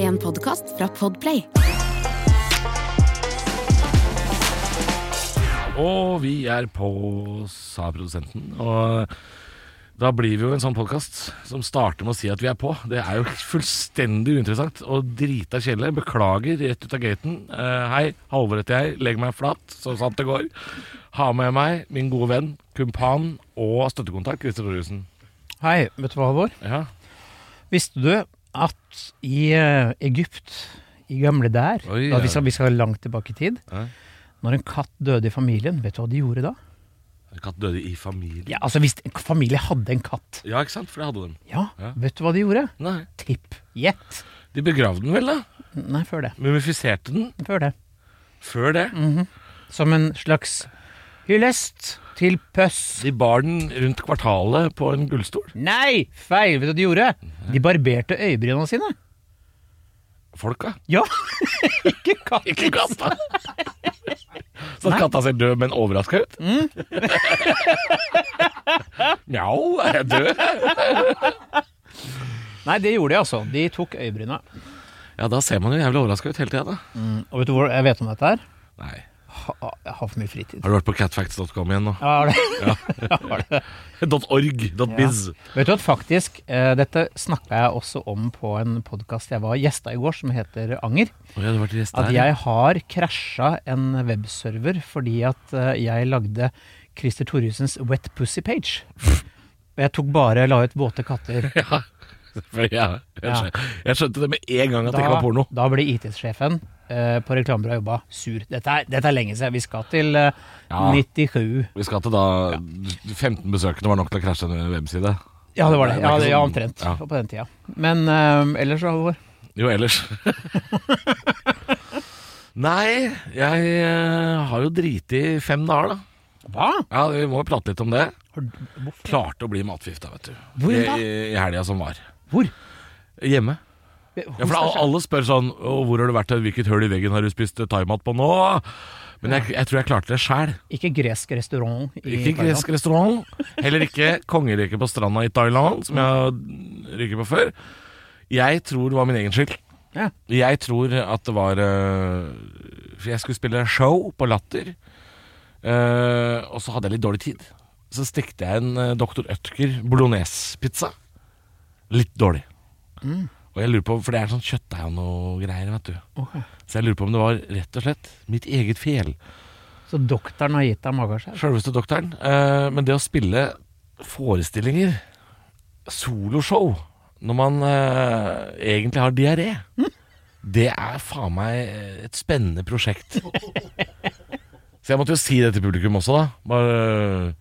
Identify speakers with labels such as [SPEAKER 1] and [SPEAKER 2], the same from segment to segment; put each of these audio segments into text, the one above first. [SPEAKER 1] en podkast fra Podplay.
[SPEAKER 2] Og vi er på, sa produsenten. Og da blir vi jo en sånn podkast som starter med å si at vi er på. Det er jo fullstendig uinteressant og drita kjedelig. Beklager rett ut av gaten. Eh, hei, Halvor heter jeg. Legg meg flat, så sant det går. Ha med meg min gode venn, kumpan og støttekontakt, Christer Thoresen.
[SPEAKER 3] Hei, vet du hva, Halvor?
[SPEAKER 2] Ja,
[SPEAKER 3] Visste du at i eh, Egypt, i gamle der,
[SPEAKER 2] Oi, ja.
[SPEAKER 3] da vi, skal, vi skal langt tilbake i tid,
[SPEAKER 2] Ja.
[SPEAKER 3] når en katt døde i familien, vet du hva de gjorde da?
[SPEAKER 2] Katt døde i familien.
[SPEAKER 3] Ja, altså Hvis en familie hadde en katt,
[SPEAKER 2] Ja, ikke sant? For det hadde de.
[SPEAKER 3] ja,
[SPEAKER 2] Ja.
[SPEAKER 3] vet du hva de gjorde?
[SPEAKER 2] Nei.
[SPEAKER 3] Tipp. Gjett.
[SPEAKER 2] De begravde den vel, da?
[SPEAKER 3] Nei, før det.
[SPEAKER 2] Mumifiserte den?
[SPEAKER 3] Før det.
[SPEAKER 2] Før det?
[SPEAKER 3] Som en slags hyllest til pøss.
[SPEAKER 2] De bar den rundt kvartalet på en gullstol.
[SPEAKER 3] Nei, feil! Vet du hva de gjorde?
[SPEAKER 2] Mhm.
[SPEAKER 3] De barberte øyebrynene sine.
[SPEAKER 2] Folka.
[SPEAKER 3] Ja, ikke katt.
[SPEAKER 2] Ikke katta! Så at katta ser død, men overraska ut?
[SPEAKER 3] Mm.
[SPEAKER 2] Mjau, er jeg død?
[SPEAKER 3] Nei, det gjorde de altså. De tok øyebryna.
[SPEAKER 2] Ja, da ser man jo jævlig overraska ut hele tida, da.
[SPEAKER 3] Og vet du hvor jeg vet om dette her?
[SPEAKER 2] Nei.
[SPEAKER 3] Ha, jeg har for mye fritid.
[SPEAKER 2] Har du vært på catfacts.com igjen nå?
[SPEAKER 3] Ja, har det. Har det.
[SPEAKER 2] .org, .biz.
[SPEAKER 3] Vet du at faktisk, eh, dette snakka jeg også om på en podkast jeg var gjesta i går, som heter Anger.
[SPEAKER 2] Å ja, det var til gjest
[SPEAKER 3] At
[SPEAKER 2] der.
[SPEAKER 3] jeg har krasja en webserver fordi at eh, jeg lagde Christer Thorusens Wet Pussy Page. Og Jeg tok bare la ut våte katter.
[SPEAKER 2] Ja. For ja, jeg, skjønte, jeg skjønte det med en gang at det ikke var porno.
[SPEAKER 3] da ble IT-sjefen eh, på reklamebyrået jobba sur. Dette er, dette er lenge siden. Vi skal til eh,
[SPEAKER 2] Ja.
[SPEAKER 3] 97.
[SPEAKER 2] Vi skal til da 15 besøkende var nok til å krasje en webside.
[SPEAKER 3] Ja, det var det.
[SPEAKER 2] Det er
[SPEAKER 3] Ja,
[SPEAKER 2] ikke
[SPEAKER 3] det, ja
[SPEAKER 2] sånn-
[SPEAKER 3] omtrent.
[SPEAKER 2] ja.
[SPEAKER 3] På den tida. Men eh, ellers, Halvor.
[SPEAKER 2] Jo, ellers. Nei, jeg eh, har jo driti i fem dager, da.
[SPEAKER 3] Hva?
[SPEAKER 2] Ja, Vi må jo prate litt om det.
[SPEAKER 3] Har du, hvorfor?
[SPEAKER 2] Klarte å bli matforgifta, vet du.
[SPEAKER 3] Hvor
[SPEAKER 2] I,
[SPEAKER 3] da?
[SPEAKER 2] i- I helga som var.
[SPEAKER 3] Hvor?
[SPEAKER 2] Hjemme. Ja,
[SPEAKER 3] Hos
[SPEAKER 2] for
[SPEAKER 3] deg
[SPEAKER 2] al-
[SPEAKER 3] selv?
[SPEAKER 2] Alle spør sånn «Å, 'Hvor har du vært? og Hvilket hull i veggen har du spist eh, thaimat på nå?' Men jeg, jeg tror jeg klarte det sjæl.
[SPEAKER 3] Ikke gresk restaurant i
[SPEAKER 2] Ikke
[SPEAKER 3] Thailand.
[SPEAKER 2] gresk restaurant. Heller ikke kongeriket på stranda i Thailand, som jeg har ryket på før. Jeg tror det var min egen skyld.
[SPEAKER 3] Ja.
[SPEAKER 2] Jeg tror at det var eh, For jeg skulle spille show på Latter, eh, og så hadde jeg litt dårlig tid. Så stekte jeg en eh, Dr. Ødker bolognese-pizza. Litt dårlig. Og jeg lurer på, For det er sånn kjøttdeig og noe greier, vet du.
[SPEAKER 3] Ok.
[SPEAKER 2] Så jeg lurer på om det var rett og slett mitt eget fel.
[SPEAKER 3] Så doktoren har gitt deg mageskjær?
[SPEAKER 2] Selveste doktoren. Eh, men det å spille forestillinger, soloshow, når man eh, egentlig har diaré, det er faen meg et spennende prosjekt. Så jeg måtte jo si det til publikum også, da. Bare eh,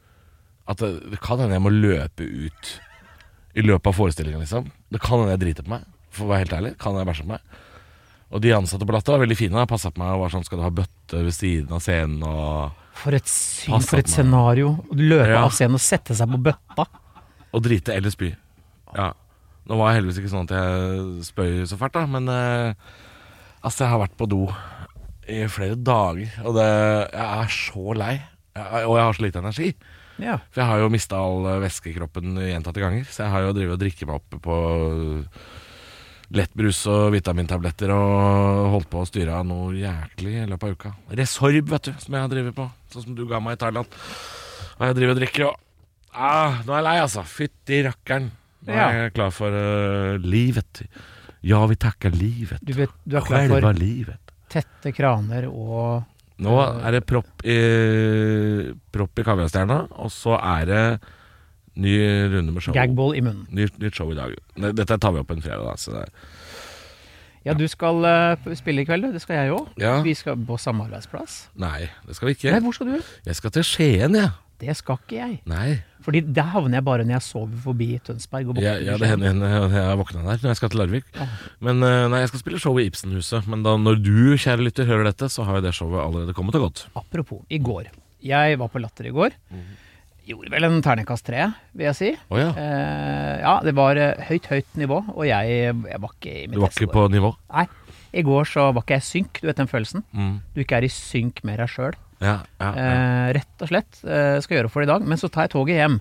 [SPEAKER 2] at det, det kan hende jeg må løpe ut i løpet av forestillinga, liksom. Det kan hende jeg driter på meg, for å være helt ærlig. Kan hende jeg bæsjer på meg. Og de ansatte på Latter var veldig fine. Passa på meg og var sånn Skal du ha bøtte ved siden av scenen? og...
[SPEAKER 3] For et syn,
[SPEAKER 2] Pass
[SPEAKER 3] for et
[SPEAKER 2] opp, mann.
[SPEAKER 3] scenario. Å løpe
[SPEAKER 2] Ja.
[SPEAKER 3] av scenen og sette seg på bøtta.
[SPEAKER 2] Og drite eller spy. Ja. Nå var jeg heldigvis ikke sånn at jeg spøy så fælt, da, men eh, altså, jeg har vært på do i flere dager, og det, jeg er så lei. Jeg, og jeg har så lite energi.
[SPEAKER 3] Ja.
[SPEAKER 2] For jeg har jo mista all eh, væske i kroppen gjentatte ganger. Så jeg har jo drevet og drikket meg opp på eh, lettbrus og vitamintabletter og holdt på å styre av noe jæklig i løpet av uka. Resorb, vet du, som jeg har drevet på. Sånn som du ga meg i Thailand. Og jeg driver og drikker og ah, Nå er jeg lei, altså. Fytti rakkeren. Nå er
[SPEAKER 3] Ja.
[SPEAKER 2] jeg klar for eh, livet. Ja, vi takker livet.
[SPEAKER 3] Du, vet, du er klar for
[SPEAKER 2] Skjelva livet.
[SPEAKER 3] tette kraner og
[SPEAKER 2] Nå
[SPEAKER 3] Eh.
[SPEAKER 2] er det propp i, propp i kaviarstjerna, og så er det ny runde med show.
[SPEAKER 3] gagball i munnen.
[SPEAKER 2] Nytt, nytt show i dag. Ne- Dette tar vi opp en fredag, da. Så det er.
[SPEAKER 3] Ja, du skal eh, p- spille i kveld, du. Det skal jeg òg.
[SPEAKER 2] Ja.
[SPEAKER 3] Vi skal på samme arbeidsplass.
[SPEAKER 2] Nei, det skal vi ikke.
[SPEAKER 3] Nei, hvor skal du?
[SPEAKER 2] Jeg skal til Skien, jeg. Ja.
[SPEAKER 3] Det skal ikke jeg.
[SPEAKER 2] Nei.
[SPEAKER 3] Fordi der havner jeg bare når jeg sover forbi Tønsberg og
[SPEAKER 2] Jeg,
[SPEAKER 3] våkner.
[SPEAKER 2] ja, det hender hender jeg våkna der når jeg skal til Larvik. Men eh, nei, jeg skal spille show i Ibsenhuset. Men da når du, kjære lytter, hører dette, så har jo det showet allerede kommet og gått.
[SPEAKER 3] Apropos, i går. Jeg var på Latter i går.
[SPEAKER 2] Mm.
[SPEAKER 3] Gjorde vel en terningkast tre, vil jeg si.
[SPEAKER 2] Å ja.
[SPEAKER 3] Eh, ja, det var eh, høyt, høyt nivå, og jeg, jeg var ikke i mitt
[SPEAKER 2] Du var
[SPEAKER 3] beste
[SPEAKER 2] ikke på nivå?
[SPEAKER 3] år. Nei. I går så var ikke jeg i synk, du vet den følelsen?
[SPEAKER 2] Mm.
[SPEAKER 3] Du ikke er i synk med deg sjøl.
[SPEAKER 2] Ja, ja, ja.
[SPEAKER 3] Eh, rett og slett. Eh, skal gjøre for det i dag, men så tar jeg toget hjem.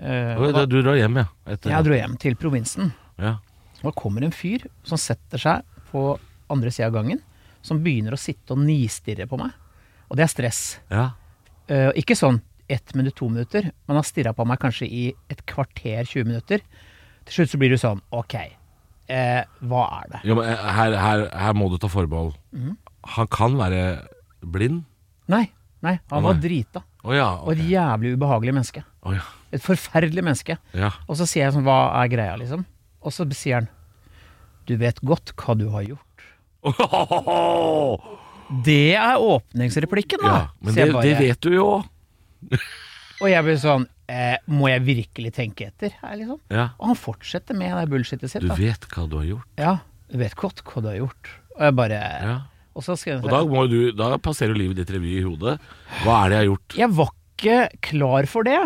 [SPEAKER 3] Eh,
[SPEAKER 2] Oi,
[SPEAKER 3] og da,
[SPEAKER 2] du drar hjem, ja? Etter,
[SPEAKER 3] jeg dro hjem til provinsen.
[SPEAKER 2] ja.
[SPEAKER 3] Og da kommer en fyr som setter seg på andre sida av gangen som begynner å sitte og nistirre på meg. Og det er stress.
[SPEAKER 2] Ja.
[SPEAKER 3] Eh, ikke sånn ett minutt, to minutter. Man har stirra på meg kanskje i et kvarter, 20 minutter. Til slutt så blir du sånn Ok, eh, hva er det?
[SPEAKER 2] Jo, men eh, her, her, her må du ta forbehold. Han kan være blind.
[SPEAKER 3] Nei, nei, han
[SPEAKER 2] Å,
[SPEAKER 3] var
[SPEAKER 2] nei.
[SPEAKER 3] drita.
[SPEAKER 2] Å ja.
[SPEAKER 3] Og et
[SPEAKER 2] ok.
[SPEAKER 3] jævlig ubehagelig menneske.
[SPEAKER 2] Å ja.
[SPEAKER 3] Et forferdelig menneske.
[SPEAKER 2] ja.
[SPEAKER 3] Og så sier jeg sånn, hva er greia, liksom? Og så sier han, du vet godt hva du har gjort. Det er åpningsreplikken, da.
[SPEAKER 2] ja. Men
[SPEAKER 3] sier
[SPEAKER 2] det,
[SPEAKER 3] jeg bare.
[SPEAKER 2] det vet du jo.
[SPEAKER 3] Og jeg blir sånn, eh, må jeg virkelig tenke etter her, liksom?
[SPEAKER 2] Ja.
[SPEAKER 3] Og han fortsetter med det bullshitet sitt.
[SPEAKER 2] Du
[SPEAKER 3] da.
[SPEAKER 2] vet hva du har gjort.
[SPEAKER 3] Ja, du vet godt hva du har gjort. Og jeg bare
[SPEAKER 2] Ja.
[SPEAKER 3] Og så skrev
[SPEAKER 2] Og da,
[SPEAKER 3] jeg
[SPEAKER 2] må jo du, da passerer jo livet ditt revy i hodet. Hva er det jeg har gjort?
[SPEAKER 3] Jeg var ikke klar for det.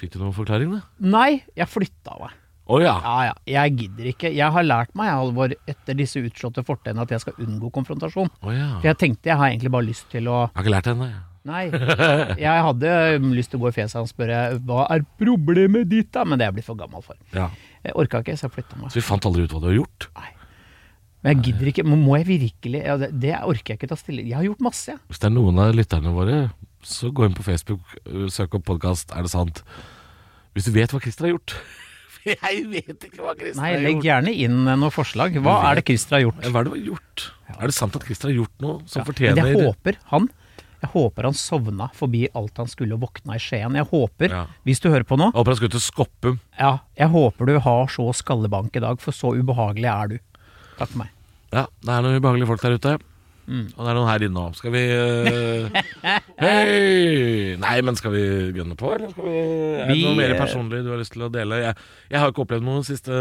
[SPEAKER 2] Fikk du noen forklaring, da?
[SPEAKER 3] Nei, jeg flytta meg.
[SPEAKER 2] Å ja.
[SPEAKER 3] Ja ja, jeg gidder ikke. Jeg har lært meg, Alvor, etter disse utslåtte fortennene, at jeg skal unngå konfrontasjon.
[SPEAKER 2] Å ja.
[SPEAKER 3] For
[SPEAKER 2] Jeg
[SPEAKER 3] jeg tenkte jeg har egentlig bare lyst til å
[SPEAKER 2] har ikke lært det ennå. jeg.
[SPEAKER 3] Nei. Jeg hadde um, lyst til å gå i fjeset hans og spørre hva er problemet ditt, da? Men det er jeg blitt for gammel for.
[SPEAKER 2] Ja.
[SPEAKER 3] Jeg orka ikke, så jeg flytta meg.
[SPEAKER 2] Så vi fant aldri ut hva du har gjort.
[SPEAKER 3] Men jeg gidder ikke. Men Må jeg virkelig ja, det, det orker jeg ikke ta stille Jeg har gjort masse, jeg.
[SPEAKER 2] Hvis det er noen av lytterne våre, så gå inn på Facebook, øh, søk opp podkast 'Er det sant?' Hvis du vet hva Christer har gjort. For jeg vet ikke hva Christer
[SPEAKER 3] Nei,
[SPEAKER 2] har
[SPEAKER 3] legg
[SPEAKER 2] gjort.
[SPEAKER 3] gjerne inn eh, noen forslag. Hva er det Christer har gjort?
[SPEAKER 2] Eh, Hva er det du har gjort? Er det sant at Christer har gjort noe som
[SPEAKER 3] Ja,
[SPEAKER 2] fortjener
[SPEAKER 3] Men jeg håper han Jeg håper han sovna forbi alt han skulle og våkna i Skien. Jeg håper,
[SPEAKER 2] Ja.
[SPEAKER 3] hvis du hører på nå,
[SPEAKER 2] Jeg håper han skulle til Skoppum.
[SPEAKER 3] ja, jeg håper du har så skallebank i dag, for så ubehagelig er du. Takk for meg.
[SPEAKER 2] Ja, det er noen ubehagelige folk der ute. Og det er noen her inne òg. Skal vi øh, Hei! Nei, men skal vi gønne på, eller skal vi Er det
[SPEAKER 3] Vi,
[SPEAKER 2] noe mer
[SPEAKER 3] eh,
[SPEAKER 2] personlig du har lyst til å dele? Jeg, jeg har jo ikke opplevd noe siste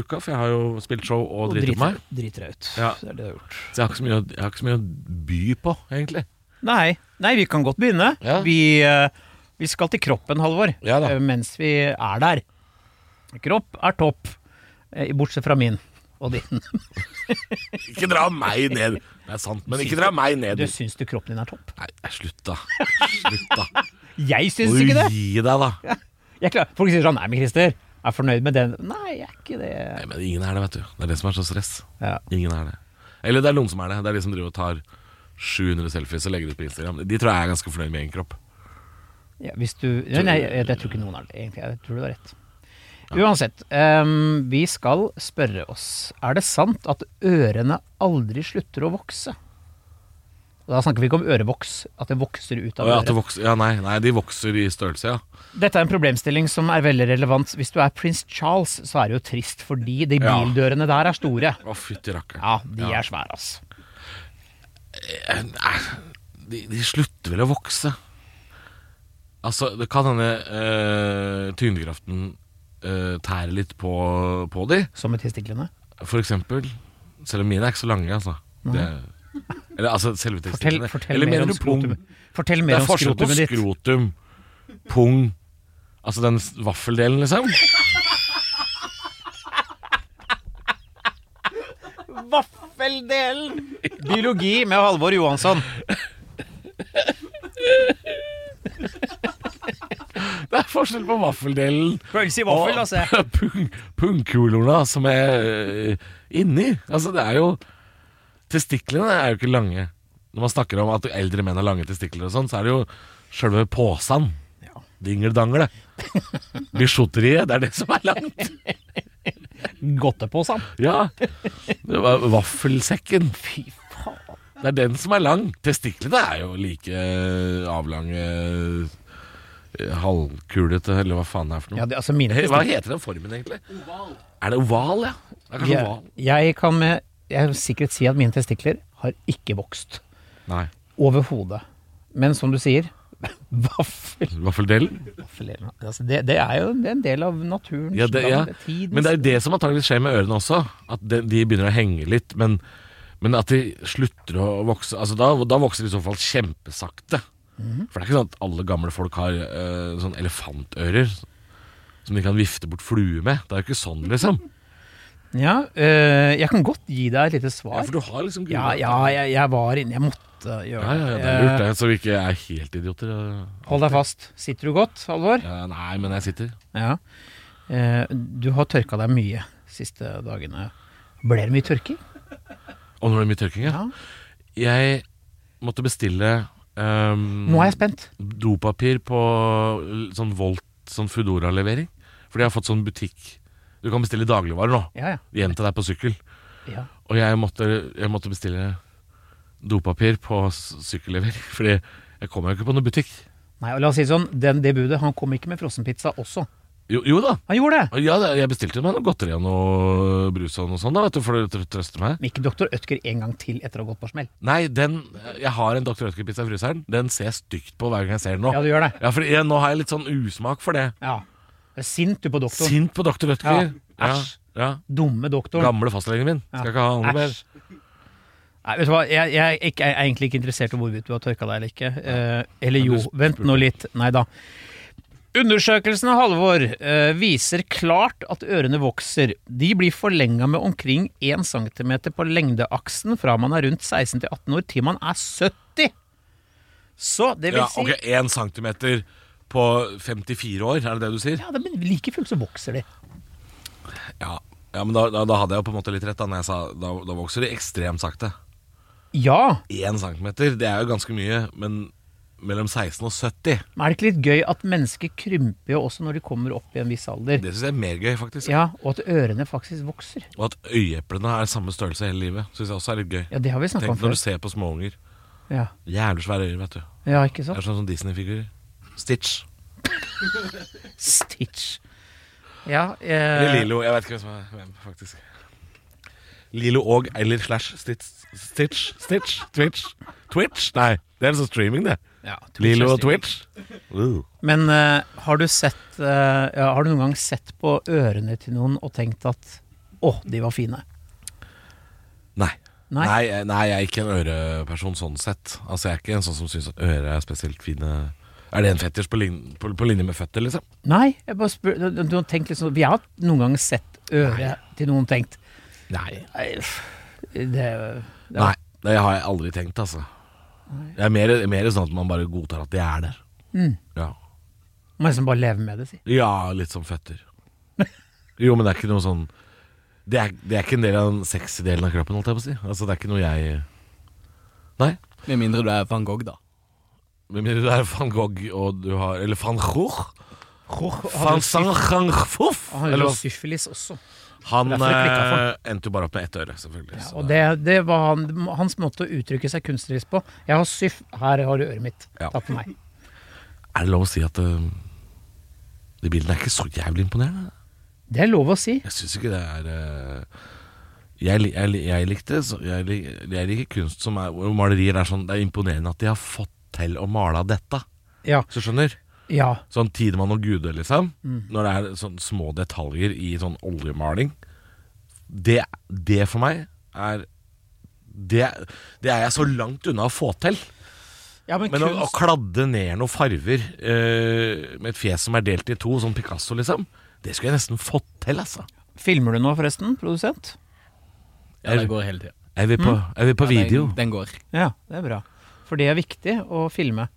[SPEAKER 2] uka, for jeg har jo spilt show og driti på meg.
[SPEAKER 3] driter deg ut.
[SPEAKER 2] Ja.
[SPEAKER 3] Det er det du har gjort.
[SPEAKER 2] Så jeg har ikke så mye, å- jeg har ikke så mye å by på, egentlig.
[SPEAKER 3] Nei, nei, vi kan godt begynne.
[SPEAKER 2] Ja.
[SPEAKER 3] Vi, eh, vi skal til kroppen, Halvor,
[SPEAKER 2] Ja da.
[SPEAKER 3] eh, mens vi er der. Kropp er topp, eh, bortsett fra min og din.
[SPEAKER 2] Ikke dra meg ned! Det er sant, men ikke dra meg ned.
[SPEAKER 3] Du syns du kroppen din er topp?
[SPEAKER 2] Nei, slutt, da. Slutt, da.
[SPEAKER 3] Jeg
[SPEAKER 2] Må
[SPEAKER 3] syns
[SPEAKER 2] du
[SPEAKER 3] ikke det!
[SPEAKER 2] gi deg, da.
[SPEAKER 3] Jeg klar, folk sier sånn Nei, men Christer, er jeg fornøyd med den? Nei, jeg er ikke det.
[SPEAKER 2] Nei, men ingen er det, vet du. Det er det som er så stress.
[SPEAKER 3] Ja.
[SPEAKER 2] Ingen er det. Eller det er noen som er det. Det er de som driver og tar 700 selfies og legger ut på Instagram. De tror jeg er ganske fornøyd med egen kropp.
[SPEAKER 3] Ja, hvis du Nei, nei jeg, jeg tror ikke noen er det, egentlig. Jeg tror du har rett. Uansett, ehm, vi skal spørre oss Er det sant at ørene aldri slutter å vokse? Og Da snakker vi ikke om ørevoks, at det vokser ut
[SPEAKER 2] Å,
[SPEAKER 3] av
[SPEAKER 2] ja, at det
[SPEAKER 3] øret.
[SPEAKER 2] vokser, ja, nei, nei, de vokser i størrelse, ja.
[SPEAKER 3] Dette er en problemstilling som er veldig relevant. Hvis du er prins Charles, så er det jo trist, fordi de
[SPEAKER 2] Ja.
[SPEAKER 3] bildørene der er store.
[SPEAKER 2] Å, fytti rakkeren.
[SPEAKER 3] Ja, de er svære, ass.
[SPEAKER 2] Eh, nei, De, de slutter vel å vokse. Altså, det kan hende eh, tyngdekraften eh, tærer litt på, på de.
[SPEAKER 3] Som med testiklene.
[SPEAKER 2] For eksempel, selv om mine er ikke så lange, altså. Det, eller altså, selve
[SPEAKER 3] Fortell,
[SPEAKER 2] testiklene.
[SPEAKER 3] fortell,
[SPEAKER 2] Eller
[SPEAKER 3] mer
[SPEAKER 2] mener
[SPEAKER 3] om
[SPEAKER 2] du pung?
[SPEAKER 3] skrotum. fortell
[SPEAKER 2] Det
[SPEAKER 3] mer
[SPEAKER 2] er
[SPEAKER 3] om
[SPEAKER 2] forskjell på
[SPEAKER 3] skrotumet ditt.
[SPEAKER 2] skrotum, pung Altså den s- vaffeldelen, liksom.
[SPEAKER 3] Vaffeldelen! Biologi med Halvor Johansson.
[SPEAKER 2] Det er forskjell på vaffeldelen
[SPEAKER 3] Pølse i vaffel, altså.
[SPEAKER 2] og pung, pungkulorna som er øh, inni. Altså, det er jo Testiklene er jo ikke lange. Når man snakker om at eldre menn har lange testikler og sånn, så er det jo sjølve posen.
[SPEAKER 3] Ja.
[SPEAKER 2] Dingeldangle. Bisjotteriet, det er det som er langt.
[SPEAKER 3] Godteposen.
[SPEAKER 2] Ja. Det var vaffelsekken.
[SPEAKER 3] Fy faen.
[SPEAKER 2] Det er den som er lang. Testiklene er jo like avlange eh, Halvkulete, eller hva faen det er for noe.
[SPEAKER 3] Ja, det, altså mine
[SPEAKER 2] Hva heter den formen, egentlig? Oval. Er det oval, ja? Det er kanskje
[SPEAKER 3] jeg,
[SPEAKER 2] oval.
[SPEAKER 3] jeg kan med jeg vil sikkert si at mine testikler har ikke vokst.
[SPEAKER 2] Nei.
[SPEAKER 3] Overhodet. Men som du sier, vaffel
[SPEAKER 2] Vaffeldelen?
[SPEAKER 3] vaffeldelen, altså det, det er jo det er en del av naturen.
[SPEAKER 2] Ja, det, ja. Men det er jo det som antageligvis skjer med ørene også. At de, de begynner å henge litt. Men, men at de slutter å vokse Altså Da, da vokser de i så fall kjempesakte.
[SPEAKER 3] Mhm.
[SPEAKER 2] For det er ikke sånn at alle gamle folk har eh, sånn elefantører som de kan vifte bort flue med. Det er jo ikke sånn, liksom.
[SPEAKER 3] ja, øh, jeg kan godt gi deg et
[SPEAKER 2] Ja,
[SPEAKER 3] lite svar.
[SPEAKER 2] for du har liksom gule
[SPEAKER 3] Ja, ja, jeg, jeg var inne. Jeg måtte
[SPEAKER 2] Ja, ja,
[SPEAKER 3] gjøre
[SPEAKER 2] ja, det er
[SPEAKER 3] Eh,
[SPEAKER 2] lurt, det. Så vi ikke er helt idioter.
[SPEAKER 3] Hold deg fast. Sitter du godt, Halvor?
[SPEAKER 2] Ja, nei, men jeg sitter.
[SPEAKER 3] Ja. Øh, Eh, du har tørka deg mye siste dagene. Ble det mye tørking?
[SPEAKER 2] Og når det er mye tørking, ja.
[SPEAKER 3] Ja.
[SPEAKER 2] Jeg måtte bestille ehm,
[SPEAKER 3] Nå er jeg spent.
[SPEAKER 2] dopapir på l- sånn Volt, sånn Foodora-levering. Fordi jeg har fått sånn butikk Du kan bestille dagligvarer nå.
[SPEAKER 3] Ja, ja.
[SPEAKER 2] Hjem til deg på sykkel.
[SPEAKER 3] ja.
[SPEAKER 2] Og jeg måtte, jeg måtte bestille dopapir på s- sykkellever. Fordi jeg kommer jo ikke på noen butikk.
[SPEAKER 3] Nei, og la oss si det sånn, den, det budet, han kom ikke med frossenpizza også.
[SPEAKER 2] Jo, jo da.
[SPEAKER 3] Han gjorde det!
[SPEAKER 2] Ja, det- jeg bestilte meg noe godteri og noe brus og noe sånt, da, vet du, for å tr- trøste meg.
[SPEAKER 3] Men ikke Dr. Ødker en gang til etter å ha gått på smell.
[SPEAKER 2] Nei, den, jeg har en Dr. Ødker-pizza i fryseren. Den ser jeg stygt på hver gang jeg ser den nå.
[SPEAKER 3] Ja, du gjør det.
[SPEAKER 2] Ja, for jeg, nå har jeg litt sånn usmak for det.
[SPEAKER 3] Ja. Du er sint du på doktoren.
[SPEAKER 2] Sint på Dr. Ødker.
[SPEAKER 3] Ja.
[SPEAKER 2] Ja.
[SPEAKER 3] Æsj.
[SPEAKER 2] ja.
[SPEAKER 3] Dumme doktoren.
[SPEAKER 2] Gamle fastlegen min. Skal ikke ha noe mer.
[SPEAKER 3] Æsj. Nei, vet du hva, jeg, jeg, er ikke- jeg er egentlig ikke interessert i hvorvidt du har tørka deg eller ikke. Eh, eller
[SPEAKER 2] Men du
[SPEAKER 3] jo,
[SPEAKER 2] spurte.
[SPEAKER 3] vent nå litt. Nei da. Undersøkelsen av Halvor eh, viser klart at ørene vokser. De blir forlenga med omkring 1 cm på lengdeaksen fra man er rundt 16 til 18 år til man er 70. Så det vil
[SPEAKER 2] Ja,
[SPEAKER 3] si
[SPEAKER 2] ok, Én centimeter på 54 år, er det det du sier?
[SPEAKER 3] Ja, det- men like fullt så vokser de.
[SPEAKER 2] Ja, ja men da, da, da hadde jeg jo på en måte litt rett da når jeg sa da, da vokser de ekstremt sakte.
[SPEAKER 3] Ja,
[SPEAKER 2] Én centimeter, det er jo ganske mye, men mellom 16 og 70,
[SPEAKER 3] men er det ikke litt gøy at mennesker krymper jo også når de kommer opp i en viss alder?
[SPEAKER 2] det syns jeg er mer gøy, faktisk.
[SPEAKER 3] Ja, og at ørene faktisk vokser.
[SPEAKER 2] Og at øyeeplene er samme størrelse hele livet, syns jeg også er litt gøy.
[SPEAKER 3] Ja, det har vi snakka om
[SPEAKER 2] Tenk
[SPEAKER 3] før.
[SPEAKER 2] når du ser på småunger.
[SPEAKER 3] Ja.
[SPEAKER 2] Jævlig svære øyne, vet du.
[SPEAKER 3] Ja, ikke
[SPEAKER 2] Det
[SPEAKER 3] sant?
[SPEAKER 2] er sånn som Disney-figurer. Stitch.
[SPEAKER 3] Stitch. Ja,
[SPEAKER 2] Eller
[SPEAKER 3] eh,
[SPEAKER 2] Lilo. Jeg vet ikke hvem som er hvem, faktisk. Lilo og eller slash Stitch Stitch? Stitch? Twitch? Twitch? Nei, det er sånn streaming, det.
[SPEAKER 3] ja, Twitch
[SPEAKER 2] Lilo
[SPEAKER 3] er
[SPEAKER 2] og
[SPEAKER 3] stilig.
[SPEAKER 2] Twitch. Uh.
[SPEAKER 3] Men eh, har, du sett, eh, ja, har du noen gang sett på ørene til noen og tenkt at å, de var fine?
[SPEAKER 2] Nei.
[SPEAKER 3] Nei.
[SPEAKER 2] Nei, jeg- nei, jeg er ikke en øreperson sånn sett. Altså, Jeg er ikke en sånn som syns at ører er spesielt fine. Er det en fetisj på, lin på, på linje med føtter, liksom?
[SPEAKER 3] Nei, jeg bare spør, du, du har tenkt liksom, Vi har noen gang sett øret til noen og tenkt
[SPEAKER 2] Nei.
[SPEAKER 3] Nei, pff, det, det
[SPEAKER 2] Nei, Det har jeg aldri tenkt, altså. Det er mer, mer sånn at man bare godtar at de er der.
[SPEAKER 3] Mm.
[SPEAKER 2] Ja.
[SPEAKER 3] må liksom bare leve med det, si.
[SPEAKER 2] ja, litt som føtter. Jo, men det er ikke noe sånn Det er, det er ikke en del av den sexy delen av kroppen, holdt jeg på å si. Altså, Det er ikke noe jeg Nei.
[SPEAKER 1] Med mindre du er van Gogh, da.
[SPEAKER 2] Med mindre du er van Gogh og du har Eller van Gogh?
[SPEAKER 3] Han
[SPEAKER 2] Van Sanchangfoff?
[SPEAKER 3] hadde jo syfilis også.
[SPEAKER 2] Han
[SPEAKER 3] Derfor det klikket for
[SPEAKER 2] eh, endte jo bare opp med ett øre, selvfølgelig.
[SPEAKER 3] Ja,
[SPEAKER 2] så
[SPEAKER 3] og
[SPEAKER 2] det-
[SPEAKER 3] det, det var han, hans måte å uttrykke seg kunstnerisk på. Jeg har syf... Her har du øret mitt.
[SPEAKER 2] Ja.
[SPEAKER 3] Takk for meg.
[SPEAKER 2] Er det lov å si at eh, de bildene er ikke så jævlig imponerende?
[SPEAKER 3] Det er lov å si.
[SPEAKER 2] Jeg syns ikke det er eh, jeg, li- jeg, li- jeg likte så- jeg, li- jeg liker kunst som er hvor malerier er sånn Det er imponerende at de har fått til å male av dette.
[SPEAKER 3] Ja.
[SPEAKER 2] Så skjønner?
[SPEAKER 3] ja.
[SPEAKER 2] Sånn Tidemann og Gude, liksom. Når det er sånn små detaljer i sånn oljemaling. Det, det for meg er det, det er jeg så langt unna å få til.
[SPEAKER 3] Ja, men,
[SPEAKER 2] Men å, å
[SPEAKER 3] kunst
[SPEAKER 2] kladde ned noen farver eh, med et fjes som er delt i to, sånn Picasso, liksom, det skulle jeg nesten fått til, altså.
[SPEAKER 3] Filmer du nå, forresten, produsent?
[SPEAKER 1] Ja, det går hele tida.
[SPEAKER 2] Jeg vil på, jeg vil på video.
[SPEAKER 1] Den, den går.
[SPEAKER 3] Ja, det er bra. For det er viktig å filme.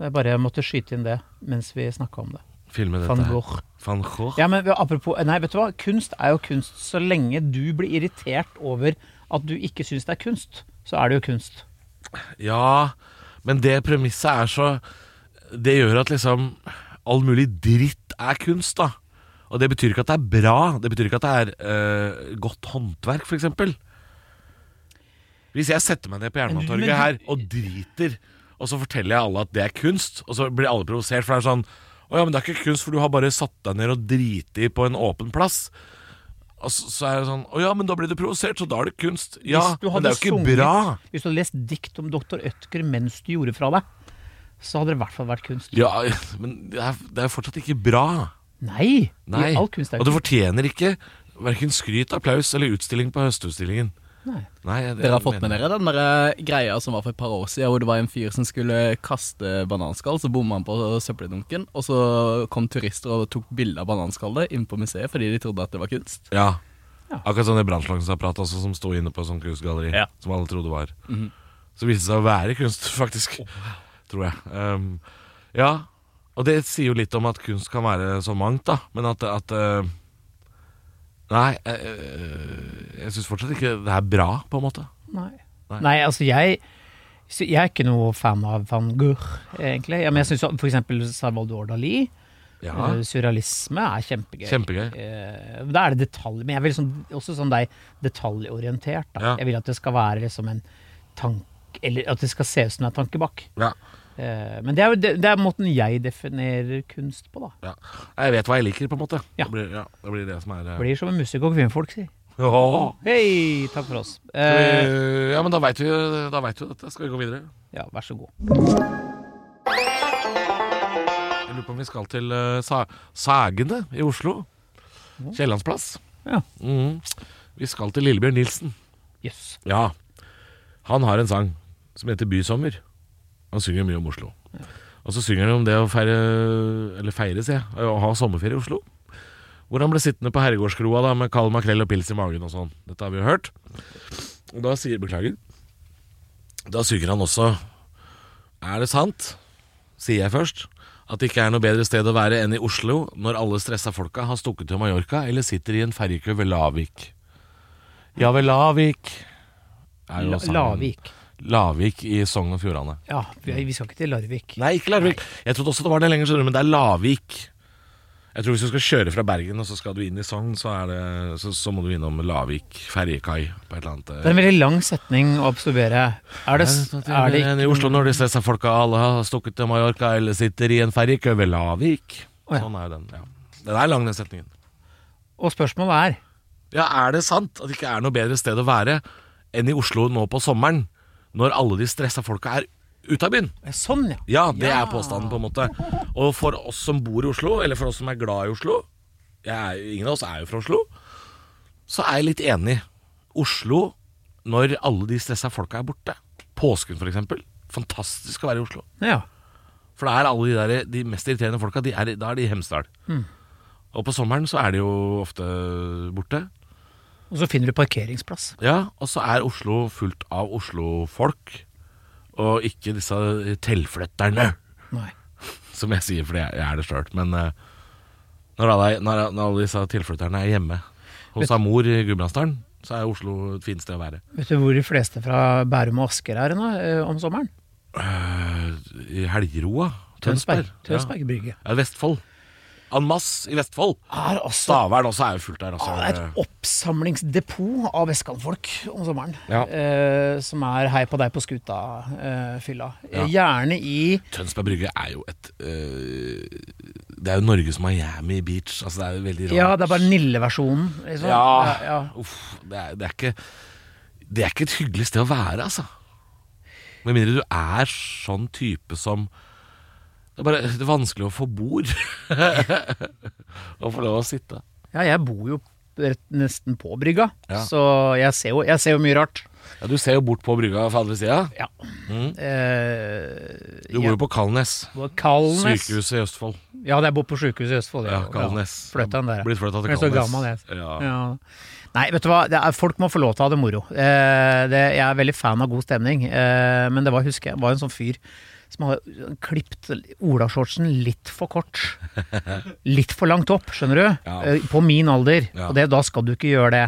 [SPEAKER 3] Det er bare jeg måtte skyte inn det mens vi snakka om det.
[SPEAKER 2] Filme dette
[SPEAKER 3] Van
[SPEAKER 2] her.
[SPEAKER 3] Gogh.
[SPEAKER 2] Van Gogh.
[SPEAKER 3] Ja, men apropos Nei, vet du hva? Kunst er jo kunst. Så lenge du blir irritert over at du ikke syns det er kunst, så er det jo kunst.
[SPEAKER 2] Ja, men det premisset er så Det gjør at liksom all mulig dritt er kunst, da. Og det betyr ikke at det er bra. Det betyr ikke at det er eh, godt håndverk, f.eks. Hvis jeg setter meg ned på
[SPEAKER 3] Men du- men
[SPEAKER 2] Jernbanetorget her og driter, og så forteller jeg alle at det er kunst, og så blir alle provosert, for det er sånn Å ja, men det er ikke kunst, for du har bare satt deg ned og driti på en åpen plass. Og så, så er det sånn Å ja, men da blir du provosert, så da er det kunst. Ja,
[SPEAKER 3] Hvis du
[SPEAKER 2] men det er
[SPEAKER 3] hadde
[SPEAKER 2] jo
[SPEAKER 3] sunget-
[SPEAKER 2] ikke bra.
[SPEAKER 3] Hvis du hadde lest dikt om doktor Ødker mens du gjorde fra deg, så hadde det i hvert fall vært kunst.
[SPEAKER 2] Ja, men det er, det er fortsatt ikke bra.
[SPEAKER 3] Nei!
[SPEAKER 2] Nei.
[SPEAKER 3] All kunst er
[SPEAKER 2] og det
[SPEAKER 3] jo
[SPEAKER 2] fortjener ikke hverken skryt, applaus eller utstilling på Høstutstillingen.
[SPEAKER 3] Nei.
[SPEAKER 2] Nei, jeg-
[SPEAKER 1] Dere har
[SPEAKER 2] jeg
[SPEAKER 1] fått med
[SPEAKER 2] mener-
[SPEAKER 1] dere den der eh, greia som var for et par år siden, hvor det var en fyr som skulle kaste bananskall, så bomma han på søppeldunken, og så kom turister og tok bilde av bananskallet inne på museet fordi de trodde at det var kunst.
[SPEAKER 2] Ja.
[SPEAKER 3] Ja.
[SPEAKER 2] Akkurat sånn det brannslangesapparatet også, som sto inne på sånn kunstgalleri.
[SPEAKER 1] Ja.
[SPEAKER 2] Som alle trodde var.
[SPEAKER 1] Mhm.
[SPEAKER 2] Så viste det seg å være kunst, faktisk. Tror jeg. Um, ja. Og det sier jo litt om at kunst kan være så mangt, da. Men at, at eh, Nei, eh, eh, jeg syns fortsatt ikke det er bra, på en måte.
[SPEAKER 3] Nei.
[SPEAKER 2] Nei.
[SPEAKER 3] Nei, altså jeg så Jeg er ikke noe fan av van Gogh, egentlig. Ja, men jeg syns f.eks. Salvador Dali,
[SPEAKER 2] Ja,
[SPEAKER 3] eh, surrealisme, er kjempegøy.
[SPEAKER 2] Kjempegøy.
[SPEAKER 3] Eh, Da er det detalj, men jeg vil sånn, også sånn deg detaljorientert. Da.
[SPEAKER 2] Ja.
[SPEAKER 3] Jeg vil at det skal være liksom en tanke Eller at det skal se ut som det er tanke bak.
[SPEAKER 2] ja,
[SPEAKER 3] Eh, Men det er, jo- det, det er måten jeg definerer kunst på, da.
[SPEAKER 2] ja. Jeg vet hva jeg liker, på en måte.
[SPEAKER 3] Ja.
[SPEAKER 2] Det, blir, ja, det blir det som er eh.
[SPEAKER 3] Blir som en musikk og kvinnfolk sier.
[SPEAKER 2] Åh!
[SPEAKER 3] Hei, takk for oss.
[SPEAKER 2] Skal
[SPEAKER 3] Eh,
[SPEAKER 2] vi- Ja, men da veit vi jo da vet vi jo dette. Skal vi gå videre?
[SPEAKER 3] ja, vær så god.
[SPEAKER 2] Jeg lurer på om vi skal til eh, sa Sagene i Oslo. Kiellandsplass.
[SPEAKER 3] Ja.
[SPEAKER 2] Mhm. Vi skal til Lillebjørn Nilsen.
[SPEAKER 3] Jøss.
[SPEAKER 2] Ja. Han har en sang som heter 'Bysommer'. Han synger mye om Oslo. Og så synger han om det å feire Eller feire, sier jeg. Å ha sommerferie i Oslo. Hvor han ble sittende på herregårdskroa da med kald makrell og pils i magen og sånn. Dette har vi jo hørt. Og da sier Beklager. Da synger han også Er det sant, sier jeg først, at det ikke er noe bedre sted å være enn i Oslo når alle stressa folka har stukket til Mallorca eller sitter i en ferjekø ved Lavik. Ja, ved Lavik er jo
[SPEAKER 3] La-
[SPEAKER 2] sangen.
[SPEAKER 3] Lavik.
[SPEAKER 2] Lavik i Sogn og Fjordane.
[SPEAKER 3] Ja, vi, vi skal ikke til Larvik.
[SPEAKER 2] Nei, ikke Larvik. Jeg trodde også det var det lenger sør, men det er Lavik. Jeg tror Hvis du skal kjøre fra Bergen og så skal du inn i Sogn, så, er det, så, så må du innom Lavik ferjekai. på et eller annet eh.
[SPEAKER 3] Det er en veldig lang setning å absorbere. Er det, er det
[SPEAKER 2] I Oslo når de stressa folka alle har stukket til Mallorca eller sitter i en ferjekø ved Lavik.
[SPEAKER 3] Å, ja.
[SPEAKER 2] Sånn er jo den. ja Den er lang, den setningen.
[SPEAKER 3] Og spørsmålet er
[SPEAKER 2] Ja, Er det sant at det ikke er noe bedre sted å være enn i Oslo nå på sommeren, når alle de stressa folka er ute av byen?
[SPEAKER 3] Sånn, ja.
[SPEAKER 2] Ja, det
[SPEAKER 3] Ja.
[SPEAKER 2] er påstanden på en måte Og for oss som bor i Oslo Eller for oss som er glad i Oslo jeg er, jo- Ingen av oss er jo fra Oslo Så er jeg litt enig Oslo, når alle de stressa folka er borte Påsken for eksempel Fantastisk å være i Oslo
[SPEAKER 3] ja.
[SPEAKER 2] For da er alle de, der, de mest irriterende folka de er, i- Da er de i Hemsedal. Og på sommeren så er de jo ofte borte
[SPEAKER 3] Og så finner du parkeringsplass.
[SPEAKER 2] Ja, og så er Oslo fullt av Oslo-folk Og ikke disse tilflytterne
[SPEAKER 3] Nei.
[SPEAKER 2] som jeg sier fordi jeg, jeg er det sjøl. Men eh, når, alle, når, når alle disse tilflytterne er hjemme hos
[SPEAKER 3] Vet-
[SPEAKER 2] ei mor i Gudbrandsdalen, så er Oslo et fint sted å være.
[SPEAKER 3] Vet du hvor de fleste fra Bærum og Asker er nå, eh, om sommeren?
[SPEAKER 2] Eh, I Helgeroa? Tønsberg?
[SPEAKER 3] Tønsberg brygge.
[SPEAKER 2] Ja. ja, Vestfold. En masse i Vestfold.
[SPEAKER 3] Er altså
[SPEAKER 2] Stavern også er jo fullt der. Altså.
[SPEAKER 3] ah, det er et oppsamlingsdepot av vestkantfolk om sommeren.
[SPEAKER 2] Ja.
[SPEAKER 3] Eh, som er hei på deg på skuta-fylla.
[SPEAKER 2] Ja.
[SPEAKER 3] Gjerne i
[SPEAKER 2] Tønsberg Brygge er jo et eh, Det er jo Norges Miami Beach. Altså, det er jo veldig rart.
[SPEAKER 3] Ja, det er bare Nille-versjonen. Liksom.
[SPEAKER 2] Ja.
[SPEAKER 3] ja.
[SPEAKER 2] Uff, det, er, det, er ikke, det er ikke et hyggelig sted å være, altså. Med mindre du er sånn type som Det er bare det er vanskelig å få bord. og få lov å sitte.
[SPEAKER 3] Ja, jeg bor jo rett, nesten på brygga,
[SPEAKER 2] Ja.
[SPEAKER 3] så jeg ser, jo, jeg ser jo mye rart.
[SPEAKER 2] Ja, Du ser jo bort på brygga fra andre sida.
[SPEAKER 3] Ja.
[SPEAKER 2] Mm.
[SPEAKER 3] Eh,
[SPEAKER 2] Du bor jo på Kalnes.
[SPEAKER 3] på Kalnes.
[SPEAKER 2] Sykehuset i Østfold.
[SPEAKER 3] Ja, det er bor på sykehuset i Østfold.
[SPEAKER 2] Ja, Kalnes.
[SPEAKER 3] Flytta den der.
[SPEAKER 2] Blitt flytta til
[SPEAKER 3] Jeg er så
[SPEAKER 2] Kalnes.
[SPEAKER 3] gammel, jeg.
[SPEAKER 2] Ja.
[SPEAKER 3] Ja. Nei, vet du hva, det er, folk må få lov til å ha det moro. Eh, det, jeg er veldig fan av god stemning, eh, men det var, husker jeg, var en sånn fyr som hadde klipt olashortsen litt for kort. Litt for langt opp, skjønner du.
[SPEAKER 2] Ja.
[SPEAKER 3] Eh, på min alder.
[SPEAKER 2] Ja.
[SPEAKER 3] Og det, da skal du ikke gjøre det.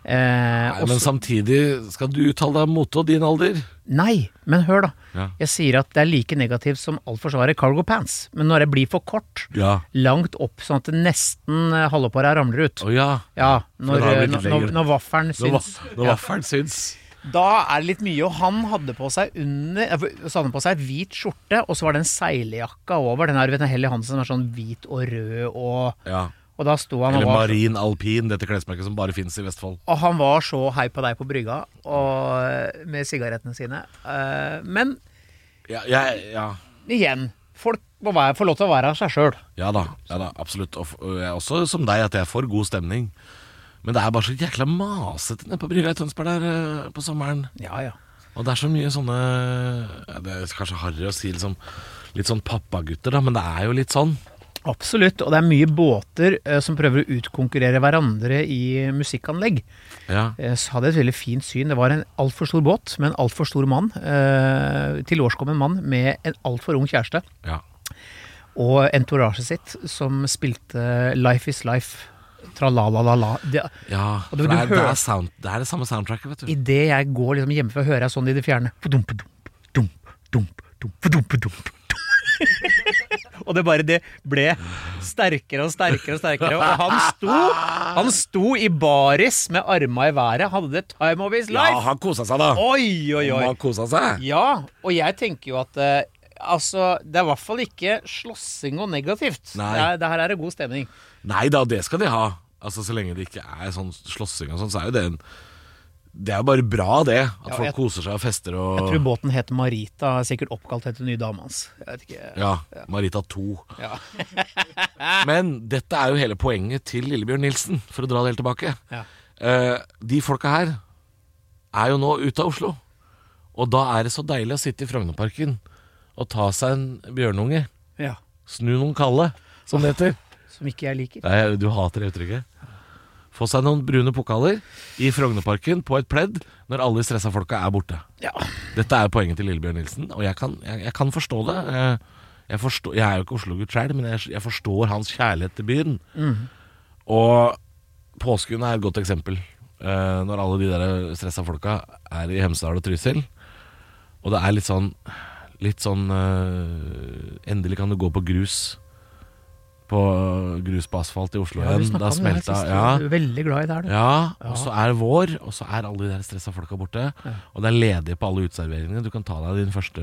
[SPEAKER 3] Eh,
[SPEAKER 2] Nei,
[SPEAKER 3] og
[SPEAKER 2] men
[SPEAKER 3] så-
[SPEAKER 2] samtidig skal du uttale deg om mote og din alder.
[SPEAKER 3] Nei, men hør da.
[SPEAKER 2] Ja.
[SPEAKER 3] Jeg sier at det er like negativt som alt forsvaret cargo pants. Men når det blir for kort,
[SPEAKER 2] Ja.
[SPEAKER 3] langt opp sånn at det nesten eh, halve påret ramler ut.
[SPEAKER 2] Å ja.
[SPEAKER 3] Ja, når, eh,
[SPEAKER 2] da er det litt
[SPEAKER 3] når, når,
[SPEAKER 2] lenger.
[SPEAKER 3] vaffelen
[SPEAKER 2] Når
[SPEAKER 3] syns.
[SPEAKER 2] va- når
[SPEAKER 3] Ja.
[SPEAKER 2] vaffelen syns.
[SPEAKER 3] Da er det litt mye, og han hadde på seg under eh, Så hadde han på seg hvit skjorte, og så var det en seilejakka over. Den her, du vet, den Helly Hansen som er sånn hvit og rød, og,
[SPEAKER 2] Ja.
[SPEAKER 3] og da sto han og
[SPEAKER 2] Eller
[SPEAKER 3] var,
[SPEAKER 2] marin alpin, dette klesmerket som bare finnes i Vestfold.
[SPEAKER 3] og han var så hei på deg på brygga og, med sigarettene sine. Eh, men
[SPEAKER 2] Ja, jeg- ja.
[SPEAKER 3] igjen, folk må være, få lov til å være seg sjøl.
[SPEAKER 2] ja, da, ja da, absolutt. Og f- og jeg er også som deg at jeg får god stemning. Men det er bare så jækla masete nede på brygga i Tønsberg der eh, på sommeren.
[SPEAKER 3] Ja, ja.
[SPEAKER 2] Og det er så mye sånne ja, Det er kanskje harry å si liksom, litt sånn pappagutter, da, men det er jo litt sånn.
[SPEAKER 3] Absolutt, og det er mye båter eh, som prøver å utkonkurrere hverandre i musikkanlegg.
[SPEAKER 2] Ja.
[SPEAKER 3] Eh, så hadde jeg et veldig fint syn. Det var en altfor stor båt med en altfor stor mann. Eh, tilårskommen mann med en altfor ung kjæreste
[SPEAKER 2] ja.
[SPEAKER 3] og entouraget sitt som spilte Life Is Life Tra-la-la-la-la. Det,
[SPEAKER 2] Ja, for
[SPEAKER 3] du-
[SPEAKER 2] det
[SPEAKER 3] du
[SPEAKER 2] er, det,
[SPEAKER 3] hører-
[SPEAKER 2] er sound, det er det samme soundtracket, vet du.
[SPEAKER 3] Idet jeg går liksom hjemmefra, hører jeg sånn i det fjerne. Fadump, dump, dump, dump, dump, fadump, dump, dump. Og det bare det ble sterkere og sterkere og sterkere. Og han sto, han sto i baris med arma i været, hadde det time of his
[SPEAKER 2] Ja,
[SPEAKER 3] life.
[SPEAKER 2] han kosa seg, da.
[SPEAKER 3] Oi, oi, oi.
[SPEAKER 2] Han kosa seg.
[SPEAKER 3] Ja, og jeg tenker jo at eh, Altså, det er i hvert fall ikke slåssing og negativt.
[SPEAKER 2] Nei.
[SPEAKER 3] Det, er, det her er god stemning.
[SPEAKER 2] Nei da, det skal de ha. Altså, Så lenge det ikke er sånn slåssing og sånn, så er jo det en Det er jo bare bra, det. At
[SPEAKER 3] Ja,
[SPEAKER 2] folk
[SPEAKER 3] jeg-
[SPEAKER 2] koser seg og fester og
[SPEAKER 3] Jeg tror båten heter Marita, er sikkert oppkalt etter nye dama hans. Jeg vet ikke.
[SPEAKER 2] Ja. Marita 2.
[SPEAKER 3] Ja.
[SPEAKER 2] Men dette er jo hele poenget til Lillebjørn Nilsen, for å dra det helt tilbake.
[SPEAKER 3] Ja.
[SPEAKER 2] Eh, de folka her er jo nå ute av Oslo. Og da er det så deilig å sitte i Frognerparken og ta seg en bjørnunge.
[SPEAKER 3] Ja.
[SPEAKER 2] Snu noen kalde, som det heter.
[SPEAKER 3] Som ikke jeg liker.
[SPEAKER 2] Nei, du hater det uttrykket. Få seg noen brune pokaler i Frognerparken på et pledd når alle de stressa folka er borte.
[SPEAKER 3] Ja.
[SPEAKER 2] Dette er poenget til Lillebjørn Nilsen, og jeg kan, jeg, jeg kan forstå det. Eh, Jeg, forstår, jeg er jo ikke Oslo-gutt sjøl, men jeg, jeg forstår hans kjærlighet til byen.
[SPEAKER 3] Mm.
[SPEAKER 2] Og påsken er et godt eksempel. eh, når alle de der stressa folka er i Hemsedal og Trysil, og det er litt sånn Litt sånn eh, Endelig kan du gå på grus. På grus på asfalt i Oslo
[SPEAKER 3] Ja, du
[SPEAKER 2] igjen. Det har
[SPEAKER 3] snakket om det her
[SPEAKER 2] smelta.
[SPEAKER 3] sist,
[SPEAKER 2] Ja.
[SPEAKER 3] Du er veldig glad i det her, du.
[SPEAKER 2] Ja, og så er det vår, og så er alle de der stressa folka borte. Og det er ledig på alle uteserveringene. Du kan ta deg din første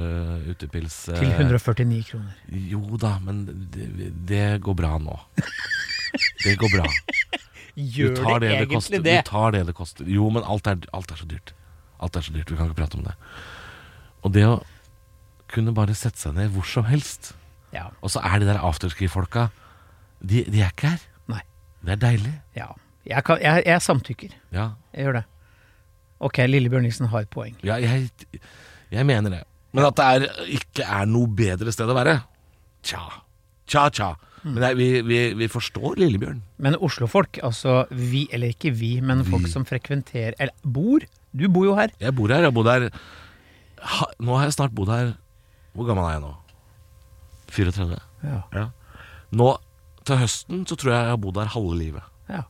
[SPEAKER 2] utepils eh,
[SPEAKER 3] Til 149 kroner.
[SPEAKER 2] Jo da, men det, det går bra nå. Det går bra. Du
[SPEAKER 3] Gjør
[SPEAKER 2] tar
[SPEAKER 3] det,
[SPEAKER 2] det det
[SPEAKER 3] egentlig
[SPEAKER 2] koster.
[SPEAKER 3] det?
[SPEAKER 2] Du tar det det koster. Jo, men alt er, alt er så dyrt. Alt er så dyrt. Vi kan ikke prate om det. Og det å kunne bare sette seg ned hvor som helst
[SPEAKER 3] Ja.
[SPEAKER 2] Og så er de der afterski-folka de, de er ikke her.
[SPEAKER 3] Nei.
[SPEAKER 2] Det er deilig.
[SPEAKER 3] Ja. Jeg, kan, jeg, jeg samtykker.
[SPEAKER 2] Ja.
[SPEAKER 3] Jeg gjør det. Ok, Lille Bjørnisen har et poeng.
[SPEAKER 2] Ja, jeg, jeg mener det. Men at det er, ikke er noe bedre sted å være, tja. Tja, tja.
[SPEAKER 3] Mm.
[SPEAKER 2] Men nei, vi, vi, vi forstår Lillebjørn.
[SPEAKER 3] Men oslofolk, altså vi, eller ikke vi, men folk som frekventerer Eller bor. Du bor jo her.
[SPEAKER 2] Jeg bor her, jeg har bodd her ha, Nå har jeg snart bodd her Hvor gammel er jeg nå? 34.
[SPEAKER 3] Ja.
[SPEAKER 2] Ja. Nå til høsten så tror jeg jeg har bodd her halve livet.
[SPEAKER 3] ja.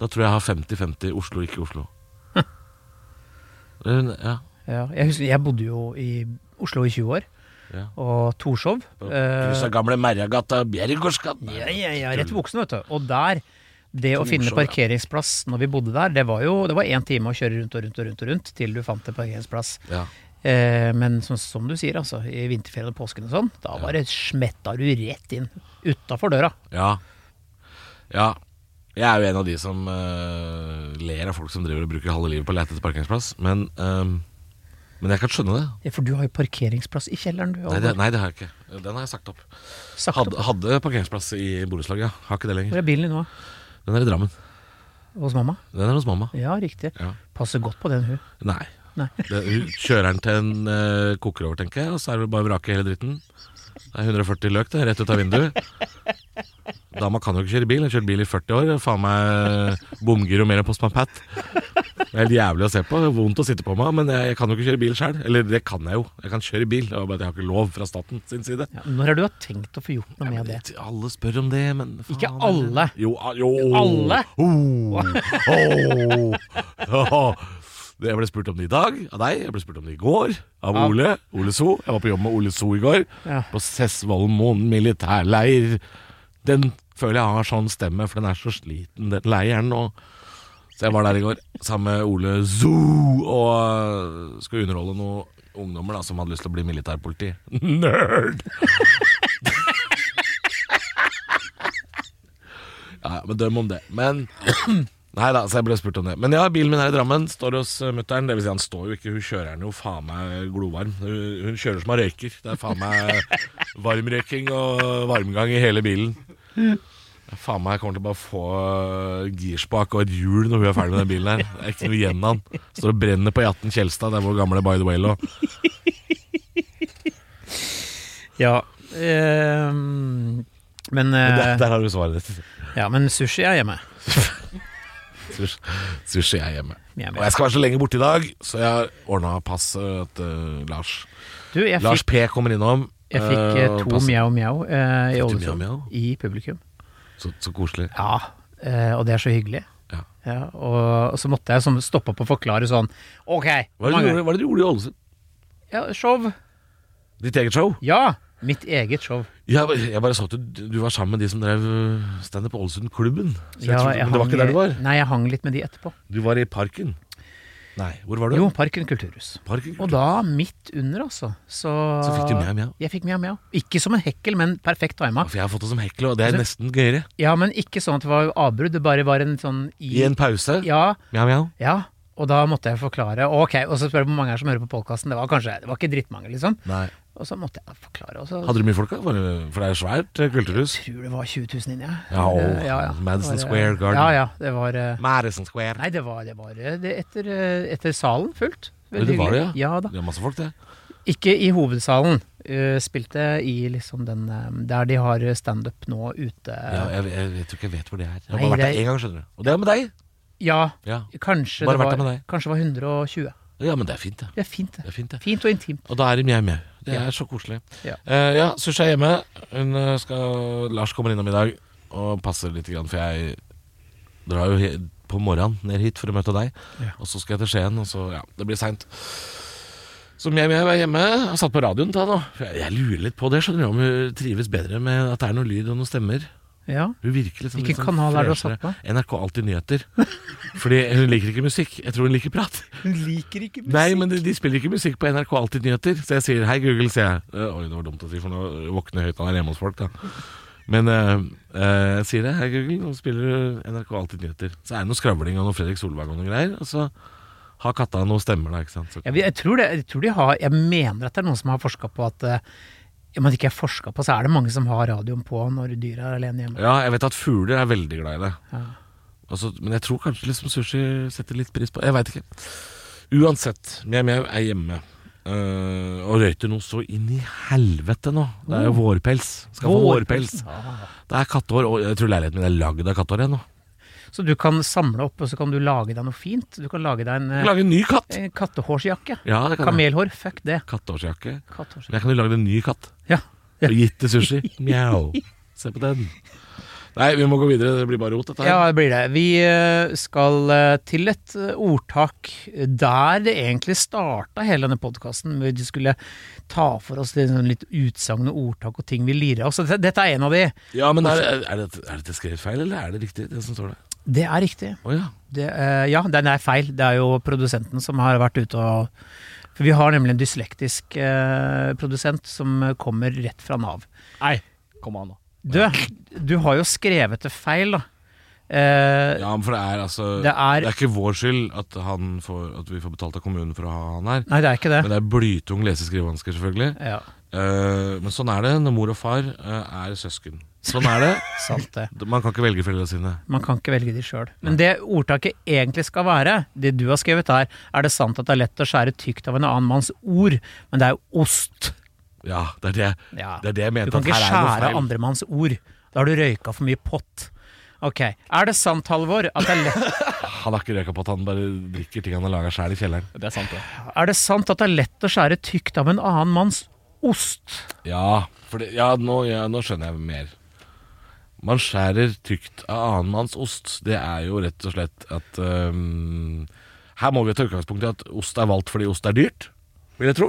[SPEAKER 2] Da tror jeg jeg har 50-50 Oslo, ikke Oslo. Det- ja.
[SPEAKER 3] ja. Jeg husker jeg bodde jo i Oslo i 20 år.
[SPEAKER 2] Ja.
[SPEAKER 3] Og Torshov. eh,
[SPEAKER 2] Krysset gamle Merjagata, Bjerregårdsgata.
[SPEAKER 3] Ja, ja, ja, rett i buksene, vet du. Og der, det å finne
[SPEAKER 2] Torshov, ja.
[SPEAKER 3] parkeringsplass når vi bodde der, det var jo det var én time å kjøre rundt og rundt og rundt og rundt til du fant en parkeringsplass.
[SPEAKER 2] Ja.
[SPEAKER 3] Eh, men som, som du sier, altså, i vinterferien og påsken og sånn, da var det smetta du rett inn utafor døra.
[SPEAKER 2] Ja. Ja. Jeg er jo en av de som eh, ler av folk som driver og bruker halve livet på å lete etter parkeringsplass, men, eh, men jeg kan skjønne det.
[SPEAKER 3] Ja, For du har jo parkeringsplass i kjelleren, du.
[SPEAKER 2] Nei, det. nei, det har jeg ikke. Den har jeg sagt opp.
[SPEAKER 3] Sagt opp.
[SPEAKER 2] Hadde, hadde parkeringsplass i borettslaget, ja. Har ikke det
[SPEAKER 3] Hvor
[SPEAKER 2] lenger.
[SPEAKER 3] er bilen din nå?
[SPEAKER 2] Den er i Drammen.
[SPEAKER 3] Hos mamma?
[SPEAKER 2] Den er hos mamma.
[SPEAKER 3] Ja, riktig.
[SPEAKER 2] Ja.
[SPEAKER 3] Passer godt på den, hun.
[SPEAKER 2] Nei.
[SPEAKER 3] Nei.
[SPEAKER 2] Det, hun kjører den til en eh, koker over, tenker jeg, og så er det bare å vrake hele dritten. Det er 140 løk, det, rett ut av vinduet. Dama kan jo ikke kjøre bil. Hun har kjørt bil i 40 år. og Faen meg bomgir og mer enn Postman Pat. Det er helt jævlig å se på. det er Vondt å sitte på meg, men jeg, jeg kan jo ikke kjøre bil sjøl. Eller det kan jeg jo. Jeg kan kjøre bil, det var bare at jeg har ikke lov fra staten sin side.
[SPEAKER 3] Ja, når er det du har tenkt å få gjort noe med det?
[SPEAKER 2] Alle spør om det, men faen,
[SPEAKER 3] Ikke alle.
[SPEAKER 2] Jo, a- jo.
[SPEAKER 3] Alle?
[SPEAKER 2] Oh, oh, oh. Det- Jeg ble spurt om det i dag av deg, jeg ble spurt om det i går av
[SPEAKER 3] Av-
[SPEAKER 2] Ole. Ole So. Jeg var på jobb med Ole So i går,
[SPEAKER 3] Ja.
[SPEAKER 2] på Sessvollmoen militærleir. Den føler jeg har sånn stemme, for den er så sliten, den leiren. Og så jeg var der i går sammen med Ole Zoo og øh, skulle underholde noen ungdommer da, som hadde lyst til å bli militærpoliti. Nerd! ja, ja, men døm om det. Men Nei da, så jeg ble spurt om det. Men ja, bilen min er i Drammen. Står hos uh, mutter'n. Det vil si, han står jo ikke, hun kjører den jo faen meg glovarm. Hun, hun kjører som hun røyker. Det er faen meg varmrøyking og varmgang i hele bilen. Faen meg, jeg kommer til å bare få øh, girspak og et hjul når hun er ferdig med den bilen her. Det er ikke noe igjen av den. Står og brenner på Jatten Kjelstad, det er vår gamle By the Way lå.
[SPEAKER 3] Ja. ehm, men,
[SPEAKER 2] Der,
[SPEAKER 3] eh,
[SPEAKER 2] der har du svaret ditt.
[SPEAKER 3] ja, men sushi er hjemme.
[SPEAKER 2] Sushi- Sushi er hjemme.
[SPEAKER 3] Hjemme.
[SPEAKER 2] Og jeg skal være så lenge borte i dag, så jeg har ordna passet til eh, Lars.
[SPEAKER 3] Du, jeg fikk
[SPEAKER 2] Lars P kommer innom.
[SPEAKER 3] Jeg fikk eh,
[SPEAKER 2] øh, og
[SPEAKER 3] to
[SPEAKER 2] passer.
[SPEAKER 3] mjau-mjau eh,
[SPEAKER 2] Fikk
[SPEAKER 3] i
[SPEAKER 2] du
[SPEAKER 3] Ålesund.
[SPEAKER 2] mjau-mjau?
[SPEAKER 3] I publikum.
[SPEAKER 2] Så, så koselig.
[SPEAKER 3] Ja. Eh, og det er så hyggelig.
[SPEAKER 2] Ja.
[SPEAKER 3] og, og så måtte jeg sånn stoppe opp og forklare sånn OK,
[SPEAKER 2] Hva er det du gjorde, hva er det du gjorde i Ålesund?
[SPEAKER 3] Ja, show.
[SPEAKER 2] Ditt eget show?
[SPEAKER 3] Ja! Mitt eget show.
[SPEAKER 2] Jeg, jeg bare så at du, du var sammen med de som drev øh, standup på Ålesund-klubben. Så jeg
[SPEAKER 3] Ja, eh,
[SPEAKER 2] trodde- Men
[SPEAKER 3] jeg
[SPEAKER 2] det var
[SPEAKER 3] hang
[SPEAKER 2] ikke der du var?
[SPEAKER 3] i- Nei, jeg hang litt med de etterpå.
[SPEAKER 2] Du var i Parken. Nei, hvor var du?
[SPEAKER 3] Jo, Parken kulturhus.
[SPEAKER 2] Parken.
[SPEAKER 3] Og da midt under, altså. Så,
[SPEAKER 2] Så fikk du mjau, mjau.
[SPEAKER 3] Jeg fikk mjau, mjau. Ikke som en hekkel, men perfekt
[SPEAKER 2] Ja,
[SPEAKER 3] tima.
[SPEAKER 2] For jeg har fått det som hekler, og det er
[SPEAKER 3] Altså-
[SPEAKER 2] nesten gøyere.
[SPEAKER 3] Ja, men ikke sånn at det var avbrudd, det bare var en sånn i,
[SPEAKER 2] I en pause.
[SPEAKER 3] Ja,
[SPEAKER 2] Mjau, mjau.
[SPEAKER 3] ja. Og da måtte jeg forklare. Ok, og så spør jeg hvor mange er som hører på podkasten. Det var kanskje, det var ikke drittmange, liksom.
[SPEAKER 2] Nei.
[SPEAKER 3] Og så måtte jeg forklare. Og så
[SPEAKER 2] Hadde du mye folk, da? For, for det er svært eh, kulturhus.
[SPEAKER 3] tror jeg det var 20 000 inne, jeg.
[SPEAKER 2] Ja,
[SPEAKER 3] Eh,
[SPEAKER 2] og Madison
[SPEAKER 3] Det var, eh,
[SPEAKER 2] Square Garden.
[SPEAKER 3] Ja, ja. Det var eh,
[SPEAKER 2] Madison Square.
[SPEAKER 3] Nei, det var, det var eh, det etter, eh, etter salen fullt.
[SPEAKER 2] Ja, det var det,
[SPEAKER 3] hyggelig. Ja da.
[SPEAKER 2] Det er masse folk, det.
[SPEAKER 3] Ikke i hovedsalen. Eh, spilte i liksom den eh, der de har standup nå ute.
[SPEAKER 2] Ja,
[SPEAKER 3] Ja,
[SPEAKER 2] jeg, jeg, jeg tror ikke jeg vet hvor det er. Jeg har
[SPEAKER 3] Nei,
[SPEAKER 2] bare vært
[SPEAKER 3] det-
[SPEAKER 2] der én gang, skjønner du. Og det er med deg. Ja,
[SPEAKER 3] kanskje
[SPEAKER 2] Bare
[SPEAKER 3] det
[SPEAKER 2] vært
[SPEAKER 3] var,
[SPEAKER 2] der med deg.
[SPEAKER 3] kanskje det var 120.
[SPEAKER 2] ja men det er fint, det.
[SPEAKER 3] Det er fint,
[SPEAKER 2] det,
[SPEAKER 3] det.
[SPEAKER 2] er fint, det.
[SPEAKER 3] Fint og intimt.
[SPEAKER 2] Og da er det mjau-mjau. Det
[SPEAKER 3] Ja.
[SPEAKER 2] er så koselig.
[SPEAKER 3] Ja.
[SPEAKER 2] Eh, ja Susha er hjemme. Hun eh, skal, Lars kommer innom i dag og passer litt, grann, for jeg drar jo he- på morgenen ned hit for å møte deg.
[SPEAKER 3] Ja.
[SPEAKER 2] Og så skal jeg til Skien, og så Ja, det blir seint. Så mjau-mjau er hjemme. Jeg har satt på radioen til henne nå. For jeg, jeg lurer litt på det. Skjønner du om hun trives bedre med at det er noe lyd og noen stemmer?
[SPEAKER 3] Ja.
[SPEAKER 2] Hun virker liksom,
[SPEAKER 3] Hvilken kanal er det du har
[SPEAKER 2] freshere.
[SPEAKER 3] satt på?
[SPEAKER 2] NRK Alltid Nyheter. Fordi hun liker ikke musikk. Jeg tror hun liker prat.
[SPEAKER 3] Hun liker ikke
[SPEAKER 2] Nei, men de, de spiller ikke musikk på NRK Alltid Nyheter. Så jeg sier hei, Google, sier jeg. Eh, Oi, det var dumt å si, for nå våkner høyttaleren hjemme hos folk, da. Men eh, eh, jeg sier det. Hei, Google, nå spiller du NRK Alltid Nyheter. Så er det noe skravling og noe Fredrik Solvang og noe greier. Og så har katta noe stemmer, da, ikke sant. Så,
[SPEAKER 3] Jeg, jeg, tror det, jeg tror de har Jeg mener at det er noen som har forska på at eh, Om det ikke er forska på, så er det mange som har radioen på når dyra er alene hjemme.
[SPEAKER 2] ja, jeg vet at fugler er veldig glad i det.
[SPEAKER 3] Ja.
[SPEAKER 2] Altså, men jeg tror kanskje liksom sushi setter litt pris på Jeg veit ikke. Uansett, mjau mjau er hjemme. Eh, og røyter noe så inn i helvete nå. Det er jo vårpels. Skal få vårpels.
[SPEAKER 3] Ah.
[SPEAKER 2] Det er kattehår, og jeg tror leiligheten min er lagd av kattehår ennå.
[SPEAKER 3] Så du kan samle opp, og så kan du lage deg noe fint. Du kan lage deg en, eh,
[SPEAKER 2] Lage en ny katt!
[SPEAKER 3] en kattehårsjakke.
[SPEAKER 2] Ja, det kan jeg.
[SPEAKER 3] Kamelhår, fuck det.
[SPEAKER 2] Kattehårsjakke.
[SPEAKER 3] Kattehårsjakke.
[SPEAKER 2] Men jeg kan jo lage en ny katt
[SPEAKER 3] Ja.
[SPEAKER 2] og gitt til sushi. Mjau. Se på den. Nei, vi må gå videre. Det blir bare rot, dette her.
[SPEAKER 3] Ja, det blir det. Vi eh, skal eh, til et eh, ordtak der det egentlig starta hele denne podkasten, hvor vi skulle ta for oss litt sånn litt utsagn og ordtak og ting vi lirer av oss. Så Dette, dette er en av de.
[SPEAKER 2] Ja, men er, er, er, det, er dette skrevet feil, eller er det riktig, det som står der?
[SPEAKER 3] Det er riktig.
[SPEAKER 2] Å ja.
[SPEAKER 3] Det, eh, ja, den er feil. Det er jo produsenten som har vært ute og For vi har nemlig en dyslektisk eh, produsent som kommer rett fra Nav.
[SPEAKER 1] Nei, kom an nå.
[SPEAKER 3] Du, du har jo skrevet det feil, da. Eh,
[SPEAKER 2] Ja, men for det er altså
[SPEAKER 3] Det er
[SPEAKER 2] Det er ikke vår skyld at, han får, at vi får betalt av kommunen for å ha han her.
[SPEAKER 3] Nei, det er ikke det.
[SPEAKER 2] Men det er blytung lese- og skrivevansker, selvfølgelig.
[SPEAKER 3] Ja,
[SPEAKER 2] Eh, men sånn er det når mor og far eh, er søsken. Sånn er det.
[SPEAKER 3] sant det.
[SPEAKER 2] Man kan ikke velge foreldrene sine.
[SPEAKER 3] Man kan ikke velge de sjøl. Men det ordtaket egentlig skal være, det du har skrevet her, er det sant at det er lett å skjære tykt av en annen manns ord, men det er jo ost.
[SPEAKER 2] Ja, det er det,
[SPEAKER 3] Ja.
[SPEAKER 2] det, er det jeg
[SPEAKER 3] Du
[SPEAKER 2] mente.
[SPEAKER 3] kan
[SPEAKER 2] at
[SPEAKER 3] ikke
[SPEAKER 2] her er
[SPEAKER 3] skjære
[SPEAKER 2] det noe feil.
[SPEAKER 3] andre manns ord. Da har du røyka for mye pott. Ok. Er det sant, Halvor, at det er lett,
[SPEAKER 2] Han har ikke røyka på at han bare drikker ting han har laga sjæl i kjelleren.
[SPEAKER 1] Det er sant, det.
[SPEAKER 3] er det sant at det er lett å skjære tykt av en annen manns ost?
[SPEAKER 2] Ja, for det, ja, nå, ja, nå skjønner jeg mer. Man skjærer tykt av annen manns ost. Det er jo rett og slett at øhm, Her må vi ta utgangspunkt i at ost er valgt fordi ost er dyrt, vil jeg tro.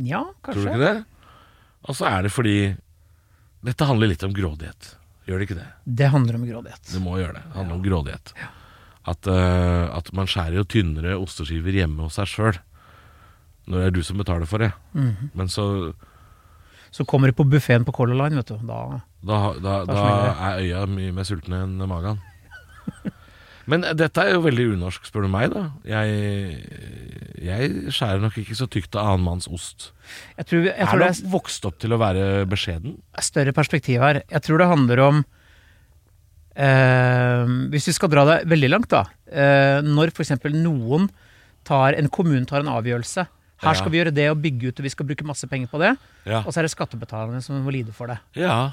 [SPEAKER 3] Nja,
[SPEAKER 2] Tror du
[SPEAKER 3] kanskje.
[SPEAKER 2] ikke det? Og så er det fordi Dette handler litt om grådighet. Gjør det ikke det?
[SPEAKER 3] Det handler om grådighet.
[SPEAKER 2] Det må gjøre det. Det handler om grådighet. At, øh, at man skjærer jo tynnere osteskiver hjemme hos seg sjøl. Når det er du som betaler for det.
[SPEAKER 3] Mhm.
[SPEAKER 2] Men så
[SPEAKER 3] Så kommer du på buffeen på Color Line, vet du. Da
[SPEAKER 2] Da, da, da
[SPEAKER 3] smeller
[SPEAKER 2] er øya mye mer sultne enn magen. Men dette er jo veldig unorsk, spør du meg, da. Jeg, jeg skjærer nok ikke så tykt av annen manns ost.
[SPEAKER 3] Jeg tror, jeg tror
[SPEAKER 2] er
[SPEAKER 3] det
[SPEAKER 2] nok vokst opp til å være beskjeden.
[SPEAKER 3] er større perspektiv her. Jeg tror det handler om eh, Hvis vi skal dra det veldig langt, da. Eh, når f.eks. noen tar En kommune tar en avgjørelse.
[SPEAKER 2] Ja.
[SPEAKER 3] Her skal vi gjøre det og bygge ut, og vi skal bruke masse penger på det.
[SPEAKER 2] Ja.
[SPEAKER 3] Og så er det skattebetalerne som må lide for det.
[SPEAKER 2] ja.
[SPEAKER 3] Eh,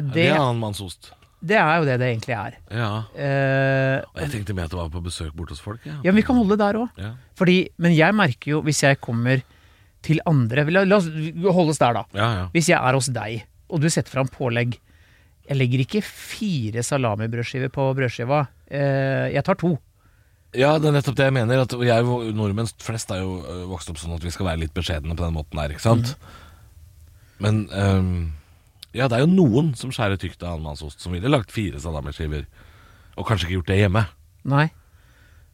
[SPEAKER 2] Det,
[SPEAKER 3] det,
[SPEAKER 2] er annen manns ost.
[SPEAKER 3] det er jo det det egentlig er.
[SPEAKER 2] Ja.
[SPEAKER 3] Eh,
[SPEAKER 2] Og jeg tenkte mer at det var på besøk borte hos folk. Ja.
[SPEAKER 3] ja, men vi kan holde det der òg.
[SPEAKER 2] Ja.
[SPEAKER 3] Fordi, men jeg merker jo, hvis jeg kommer til andre La, la oss holde oss der, da.
[SPEAKER 2] ja, ja.
[SPEAKER 3] Hvis jeg er hos deg, og du setter fram pålegg Jeg legger ikke fire salamibrødskiver på brødskiva. Eh, jeg tar to.
[SPEAKER 2] Ja, det er nettopp det jeg mener. At jeg, nordmenn flest er jo øh, vokst opp sånn at vi skal være litt beskjedne på den måten her, ikke sant?
[SPEAKER 3] Mhm.
[SPEAKER 2] Men øhm, ja, det er jo noen som skjærer tykt av annenmannsost, som ville lagt fire salamiskiver. Og kanskje ikke gjort det hjemme.
[SPEAKER 3] Nei.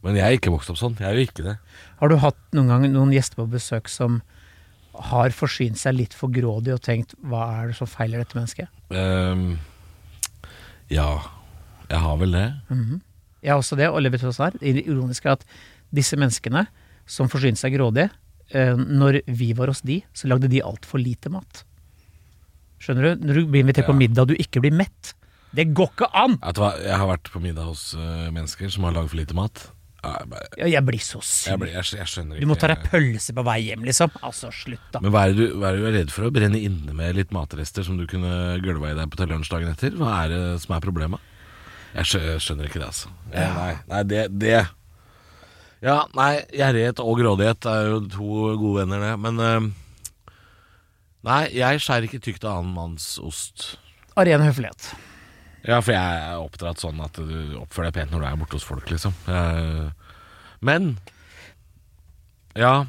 [SPEAKER 2] Men jeg er ikke vokst opp sånn. Jeg er jo ikke det.
[SPEAKER 3] Har du hatt noen gang noen gjester på besøk som har forsynt seg litt for grådig og tenkt 'hva er det som feiler dette mennesket'?
[SPEAKER 2] Øhm, ja, jeg har vel det.
[SPEAKER 3] Jeg har også det, og lever tross her. Det ironiske er at disse menneskene som forsynte seg grådig, eh, når vi var hos de, så lagde de altfor lite mat. Skjønner du? Når du blir invitert på
[SPEAKER 2] Ja.
[SPEAKER 3] middag og du ikke blir mett. Det går ikke an!
[SPEAKER 2] Vet du hva, jeg har vært på middag hos øh, mennesker som har lagd for lite mat. Ja, Jeg, bare-
[SPEAKER 3] Ja, Jeg blir så sur.
[SPEAKER 2] jeg, blir- jeg, jeg skjønner
[SPEAKER 3] Du
[SPEAKER 2] ikke
[SPEAKER 3] må ta deg pølse på vei hjem, liksom. Altså, slutt, da.
[SPEAKER 2] Men hva er, det du, hva er det du er redd for å brenne inne med litt matrester som du kunne gølva i deg på lunsjdagen etter? Hva er det som er problemet? Jeg skjø- jeg skjønner ikke det, altså. Eh, Nei, nei det, det Ja, nei, gjerrighet og grådighet er jo to gode venner, det. Men eh, Nei, jeg skjærer ikke tykt av annen manns ost.
[SPEAKER 3] Av ren høflighet.
[SPEAKER 2] Ja, for jeg er oppdratt sånn at du oppfører deg pent når du er borte hos folk, liksom. Eh, Men Ja.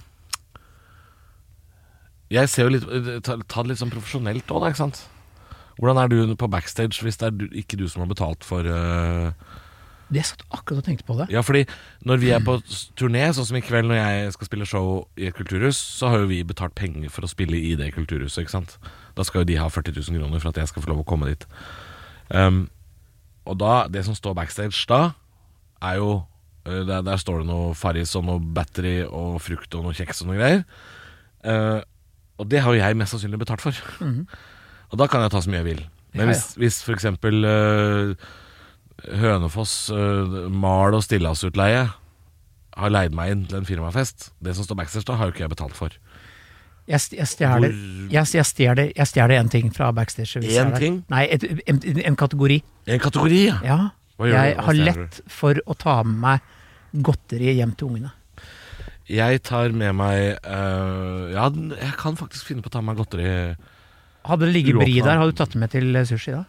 [SPEAKER 2] Jeg ser jo litt Ta, ta det litt sånn profesjonelt òg, da, ikke sant? Hvordan er du på backstage hvis det er du, ikke du som har betalt for eh,
[SPEAKER 3] Det satt akkurat og tenkte på det.
[SPEAKER 2] Ja, fordi når vi er på s- turné, sånn som i kveld når jeg skal spille show i et kulturhus, så har jo vi betalt penger for å spille i det kulturhuset, ikke sant? Da skal jo de ha 40 000 kroner for at jeg skal få lov å komme dit. Um, og da, det som står backstage da, er jo eh, der, der står det noe Farris og noe battery og frukt og noe kjeks og noe greier. Eh, og det har jo jeg mest sannsynlig betalt for. Og da kan jeg ta så mye jeg vil. Men
[SPEAKER 3] Mhm. Ja, ja.
[SPEAKER 2] hvis, hvis for eksempel eh, Hønefoss eh, mal- og stillasutleie har leid meg inn til en firmafest, det som står backstage da, har jo ikke jeg betalt for.
[SPEAKER 3] Jeg, st- jeg stjeler
[SPEAKER 2] Hvor-
[SPEAKER 3] jeg, jeg stjeler- jeg stjeler én ting fra backstage. hvis
[SPEAKER 2] En
[SPEAKER 3] jeg er der.
[SPEAKER 2] ting?
[SPEAKER 3] Nei, et, en, en kategori.
[SPEAKER 2] En kategori, ja.
[SPEAKER 3] Ja.
[SPEAKER 2] Hva gjør
[SPEAKER 3] Jeg
[SPEAKER 2] du? Hva
[SPEAKER 3] har
[SPEAKER 2] stjeler
[SPEAKER 3] lett for å ta med meg godteri hjem til ungene.
[SPEAKER 2] Jeg tar med meg eh, Ja, den- jeg kan faktisk finne på å ta med meg godteri.
[SPEAKER 3] Hadde det ligget bri
[SPEAKER 2] Uåpna.
[SPEAKER 3] der, hadde du tatt det med til eh, sushi da?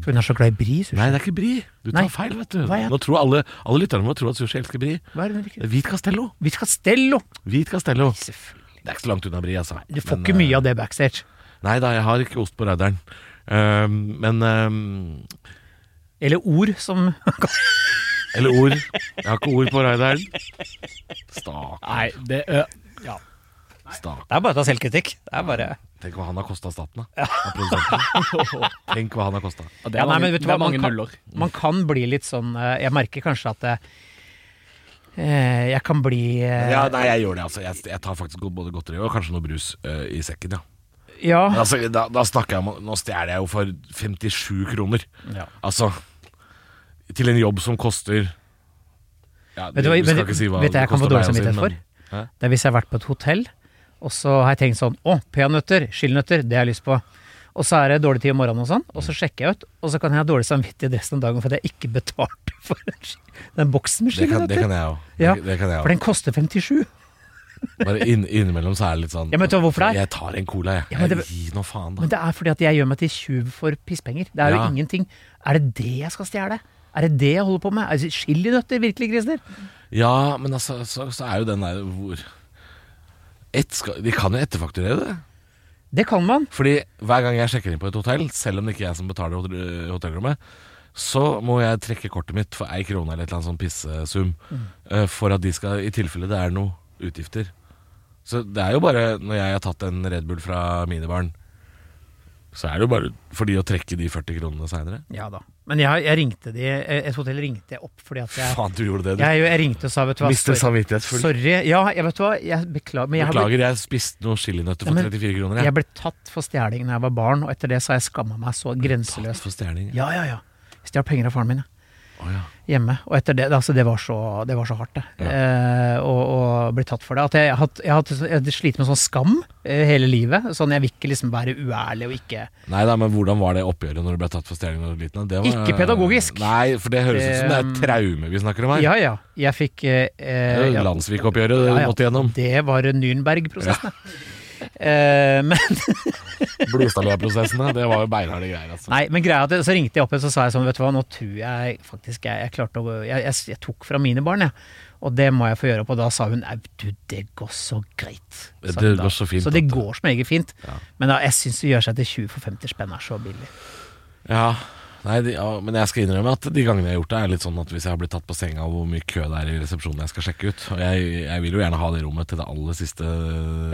[SPEAKER 3] For hun er så glad i bri, sushi.
[SPEAKER 2] Nei, det er ikke bri. Du tar
[SPEAKER 3] Nei.
[SPEAKER 2] feil, vet du.
[SPEAKER 3] Hva er-
[SPEAKER 2] Nå tror alle, alle lytterne må tro at sushi elsker bri.
[SPEAKER 3] Hva er det hun
[SPEAKER 2] Det er
[SPEAKER 3] drikker?
[SPEAKER 2] Hvit Castello.
[SPEAKER 3] Vi skal stelle!
[SPEAKER 2] Hvit Castello.
[SPEAKER 3] Selvfølgelig.
[SPEAKER 2] Det er ikke så langt unna bri, altså.
[SPEAKER 3] Du får ikke mye av det backstage.
[SPEAKER 2] Nei da, jeg har ikke ost på rauderen. Ehm, men ehm,
[SPEAKER 3] Eller ord som
[SPEAKER 2] Eller ord. Jeg har ikke ord på raideren. Stak,
[SPEAKER 1] Nei, det
[SPEAKER 2] stak.
[SPEAKER 3] Det er bare å ta selvkritikk. Det er bare
[SPEAKER 2] Tenk hva han har kosta staten, da. Av produsenten. Tenk hva han har kosta.
[SPEAKER 1] det
[SPEAKER 3] Ja, nei,
[SPEAKER 1] er mange,
[SPEAKER 3] men vet du
[SPEAKER 1] det
[SPEAKER 3] hva,
[SPEAKER 1] er
[SPEAKER 3] man
[SPEAKER 1] mange
[SPEAKER 3] kan-
[SPEAKER 1] nuller.
[SPEAKER 3] Man kan bli litt sånn eh, Jeg merker kanskje at eh, eh, jeg kan bli eh,
[SPEAKER 2] Ja, nei, jeg gjør det, altså. Jeg, jeg tar faktisk både godteri og kanskje noe brus eh, i sekken, ja.
[SPEAKER 3] ja.
[SPEAKER 2] Men altså, da, da snakker jeg om Nå stjeler jeg jo for 57 kroner.
[SPEAKER 3] Ja.
[SPEAKER 2] Altså Til en jobb som koster ja,
[SPEAKER 3] Vet du hva-
[SPEAKER 2] vi skal
[SPEAKER 3] vet-
[SPEAKER 2] ikke si hva
[SPEAKER 3] vet du
[SPEAKER 2] det
[SPEAKER 3] jeg kan få
[SPEAKER 2] koster
[SPEAKER 3] dårlig
[SPEAKER 2] meg å si,
[SPEAKER 3] samvittighet
[SPEAKER 2] men- Hæ?
[SPEAKER 3] Det er hvis jeg har vært på et hotell, og så har jeg tenkt sånn Å, peanøtter, skillnøtter, det har jeg lyst på. Og så er det dårlig tid om morgenen, og sånn, og så sjekker jeg ut. Og så kan jeg ha dårlig samvittighet resten av dagen for at jeg ikke betalte for en sk- den boksen med
[SPEAKER 2] Det kan, det
[SPEAKER 3] skillnøtter.
[SPEAKER 2] kan jeg òg.
[SPEAKER 3] Ja,
[SPEAKER 2] det, det kan jeg
[SPEAKER 3] For
[SPEAKER 2] også.
[SPEAKER 3] den koster 57.
[SPEAKER 2] Bare inn, innimellom så er det litt sånn
[SPEAKER 3] Ja, men vet du hva hvorfor det er?
[SPEAKER 2] Jeg tar en cola, jeg.
[SPEAKER 3] Ja, men det-
[SPEAKER 2] Gi nå faen, da.
[SPEAKER 3] Men det er fordi at jeg gjør meg til tjuv for pisspenger. Det er jo
[SPEAKER 2] Ja.
[SPEAKER 3] ingenting. Er det det jeg skal stjele? Er det det jeg holder på med? Er det Chilinøtter, virkelig, Christer?
[SPEAKER 2] Ja, men altså, så, så er jo den der hvor Et skal, De kan jo etterfakturere det.
[SPEAKER 3] Det kan man.
[SPEAKER 2] Fordi hver gang jeg sjekker inn på et hotell, selv om det ikke er jeg som betaler hot- øh, hotellrommet, så må jeg trekke kortet mitt for ei krone eller et eller annet sånn pissesum
[SPEAKER 3] Mm.
[SPEAKER 2] øh, for at de skal I tilfelle det er noe utgifter. Så det er jo bare når jeg har tatt en Red Bull fra minibaren, så er det jo bare for de å trekke de 40 kronene seinere.
[SPEAKER 3] Ja da. Men jeg, jeg ringte de, et hotell ringte jeg opp fordi at jeg
[SPEAKER 2] Faen, du gjorde det, du.
[SPEAKER 3] Jeg, jeg ringte og sa, vet du hva
[SPEAKER 2] Mister
[SPEAKER 3] sorry-
[SPEAKER 2] samvittighet full.
[SPEAKER 3] Sorry. Ja, jeg vet du hva, jeg beklager. Men jeg, har
[SPEAKER 2] Beklager, jeg spiste noen chilinøtter
[SPEAKER 3] Ja,
[SPEAKER 2] for
[SPEAKER 3] men
[SPEAKER 2] 34 kroner.
[SPEAKER 3] blitt,
[SPEAKER 2] Jeg.
[SPEAKER 3] jeg ble tatt for stjeling da jeg var barn, og etter det så har jeg skamma meg så
[SPEAKER 2] Tatt
[SPEAKER 3] grenseløst.
[SPEAKER 2] for stjerning.
[SPEAKER 3] Ja, ja, ja. Jeg Stjal penger av faren min, jeg.
[SPEAKER 2] Å, ja.
[SPEAKER 3] Hjemme. Og etter det Altså, det var så, det var så hardt, det. Eh, og, og bli tatt for det. At jeg har hatt- jeg har hatt så- jeg har slitt med sånn skam eh, hele livet. Sånn jeg vil ikke liksom være uærlig og ikke
[SPEAKER 2] Nei da, men hvordan var det oppgjøret når du ble tatt for stjeling da du var liten? Det var,
[SPEAKER 3] Ikke pedagogisk.
[SPEAKER 2] Nei, for det høres ut som det er et
[SPEAKER 3] Det-
[SPEAKER 2] traume vi snakker om her.
[SPEAKER 3] Ja, ja. Jeg fikk eh, eh,
[SPEAKER 2] Det er jo
[SPEAKER 3] ja.
[SPEAKER 2] Landsvik-oppgjøret du
[SPEAKER 3] Ja, ja.
[SPEAKER 2] måtte gjennom.
[SPEAKER 3] Det var Nürnberg-prosessen. Eh, men
[SPEAKER 2] Blodstadlia-prosessene, det var jo beinharde greier, altså.
[SPEAKER 3] Nei, men greia er at så ringte jeg opp og så sa jeg sånn, vet du hva, nå tror jeg faktisk jeg, jeg klarte å gå jeg, jeg, jeg tok fra mine barn, jeg. Og det må jeg få gjøre opp. Og da sa hun au, du, det går så greit.
[SPEAKER 2] Det
[SPEAKER 3] sa hun da.
[SPEAKER 2] går så fint,
[SPEAKER 3] så det
[SPEAKER 2] tante.
[SPEAKER 3] går som eget fint.
[SPEAKER 2] Ja.
[SPEAKER 3] Men da, jeg syns det gjør seg til 20 for 50 spenn er så billig.
[SPEAKER 2] Ja, nei, de, ja, men jeg skal innrømme at de gangene jeg har gjort det, er litt sånn at hvis jeg har blitt tatt på senga av hvor mye kø det er i resepsjonen jeg skal sjekke ut Og jeg, jeg vil jo gjerne ha det rommet til det aller siste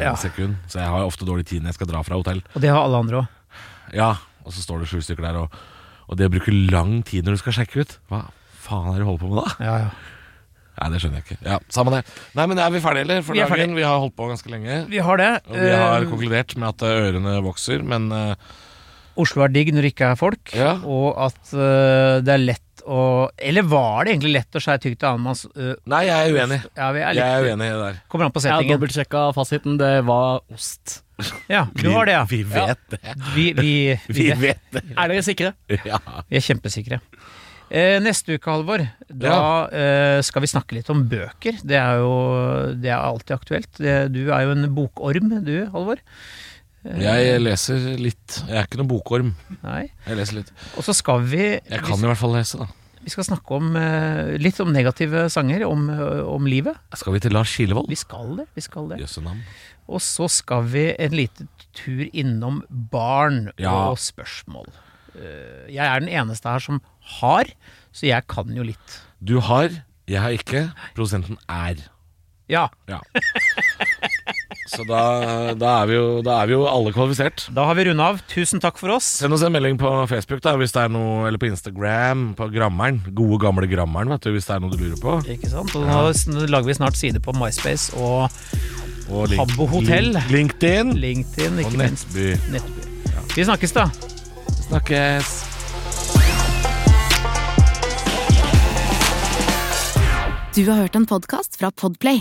[SPEAKER 3] Ja.
[SPEAKER 2] sekund, så jeg har jo ofte dårlig tid når jeg skal dra fra hotell.
[SPEAKER 3] Og det har alle andre òg.
[SPEAKER 2] Ja, og så står det sju stykker der, og, og det å bruke lang tid når du skal sjekke ut Hva faen er det du holder på med da?
[SPEAKER 3] Ja, ja.
[SPEAKER 2] Nei, det skjønner jeg ikke. Ja, Samme det. Nei, men er vi ferdige, eller? For
[SPEAKER 3] Vi er
[SPEAKER 2] dagen, vi har holdt på ganske lenge.
[SPEAKER 3] Vi har det.
[SPEAKER 2] Og vi har
[SPEAKER 3] Eh,
[SPEAKER 2] konkludert med at ørene vokser, men eh,
[SPEAKER 3] Oslo er digg når det ikke er folk,
[SPEAKER 2] Ja.
[SPEAKER 3] og at eh, det er lett å Eller var det egentlig lett å skjære tykt til annenmanns eh,
[SPEAKER 2] Nei, jeg er uenig.
[SPEAKER 3] Ja, vi
[SPEAKER 2] Jeg
[SPEAKER 3] er
[SPEAKER 2] er
[SPEAKER 3] litt,
[SPEAKER 2] uenig i det der.
[SPEAKER 3] kommer an på
[SPEAKER 1] Jeg har
[SPEAKER 3] settingen.
[SPEAKER 1] dobbeltsjekka fasiten. Det var ost.
[SPEAKER 3] Ja, du har det, ja.
[SPEAKER 2] Vi vet det.
[SPEAKER 3] Vi, vi,
[SPEAKER 2] Vi
[SPEAKER 3] vi vet.
[SPEAKER 2] vet det.
[SPEAKER 1] Er dere sikre?
[SPEAKER 2] Ja.
[SPEAKER 3] Vi er kjempesikre. Eh, neste uke, Halvor, da eh, skal vi snakke litt om bøker. Det er jo det er alltid aktuelt. Det, du er jo en bokorm, du, Halvor.
[SPEAKER 2] Jeg leser litt. Jeg er ikke noen bokorm.
[SPEAKER 3] Nei.
[SPEAKER 2] Jeg leser litt.
[SPEAKER 3] Og så skal vi
[SPEAKER 2] Jeg kan i hvert fall lese, da.
[SPEAKER 3] Vi skal snakke om, eh, litt om negative sanger, om, eh, om livet.
[SPEAKER 2] Skal vi til Lars Kilevold?
[SPEAKER 3] Vi skal det. vi skal det.
[SPEAKER 2] Jøsse navn.
[SPEAKER 3] Og så skal vi en liten tur innom barn
[SPEAKER 2] Ja.
[SPEAKER 3] og spørsmål. Eh, Jeg er den eneste her som har, så jeg kan jo litt.
[SPEAKER 2] Du har, jeg har ikke. Prosenten er.
[SPEAKER 3] Ja,
[SPEAKER 2] Ja. Så da, da, er vi jo, da er vi jo alle kvalifisert.
[SPEAKER 3] da har vi runda av. Tusen takk for oss.
[SPEAKER 2] Send oss en melding på Facebook da hvis det er noe, eller på Instagram. På Grammeren. Gode, gamle Grammeren, vet du, hvis det er noe du lurer på.
[SPEAKER 3] Ikke sant? Og nå s- nå lager vi snart side på MySpace og
[SPEAKER 2] Og link-
[SPEAKER 3] Habbo Hotel.
[SPEAKER 2] link- LinkedIn.
[SPEAKER 3] LinkedIn,
[SPEAKER 2] Og
[SPEAKER 3] ikke minst.
[SPEAKER 2] Nettby.
[SPEAKER 3] Nettby. Vi snakkes, da.
[SPEAKER 2] Snakkes.
[SPEAKER 4] Du har hørt en podcast fra Podplay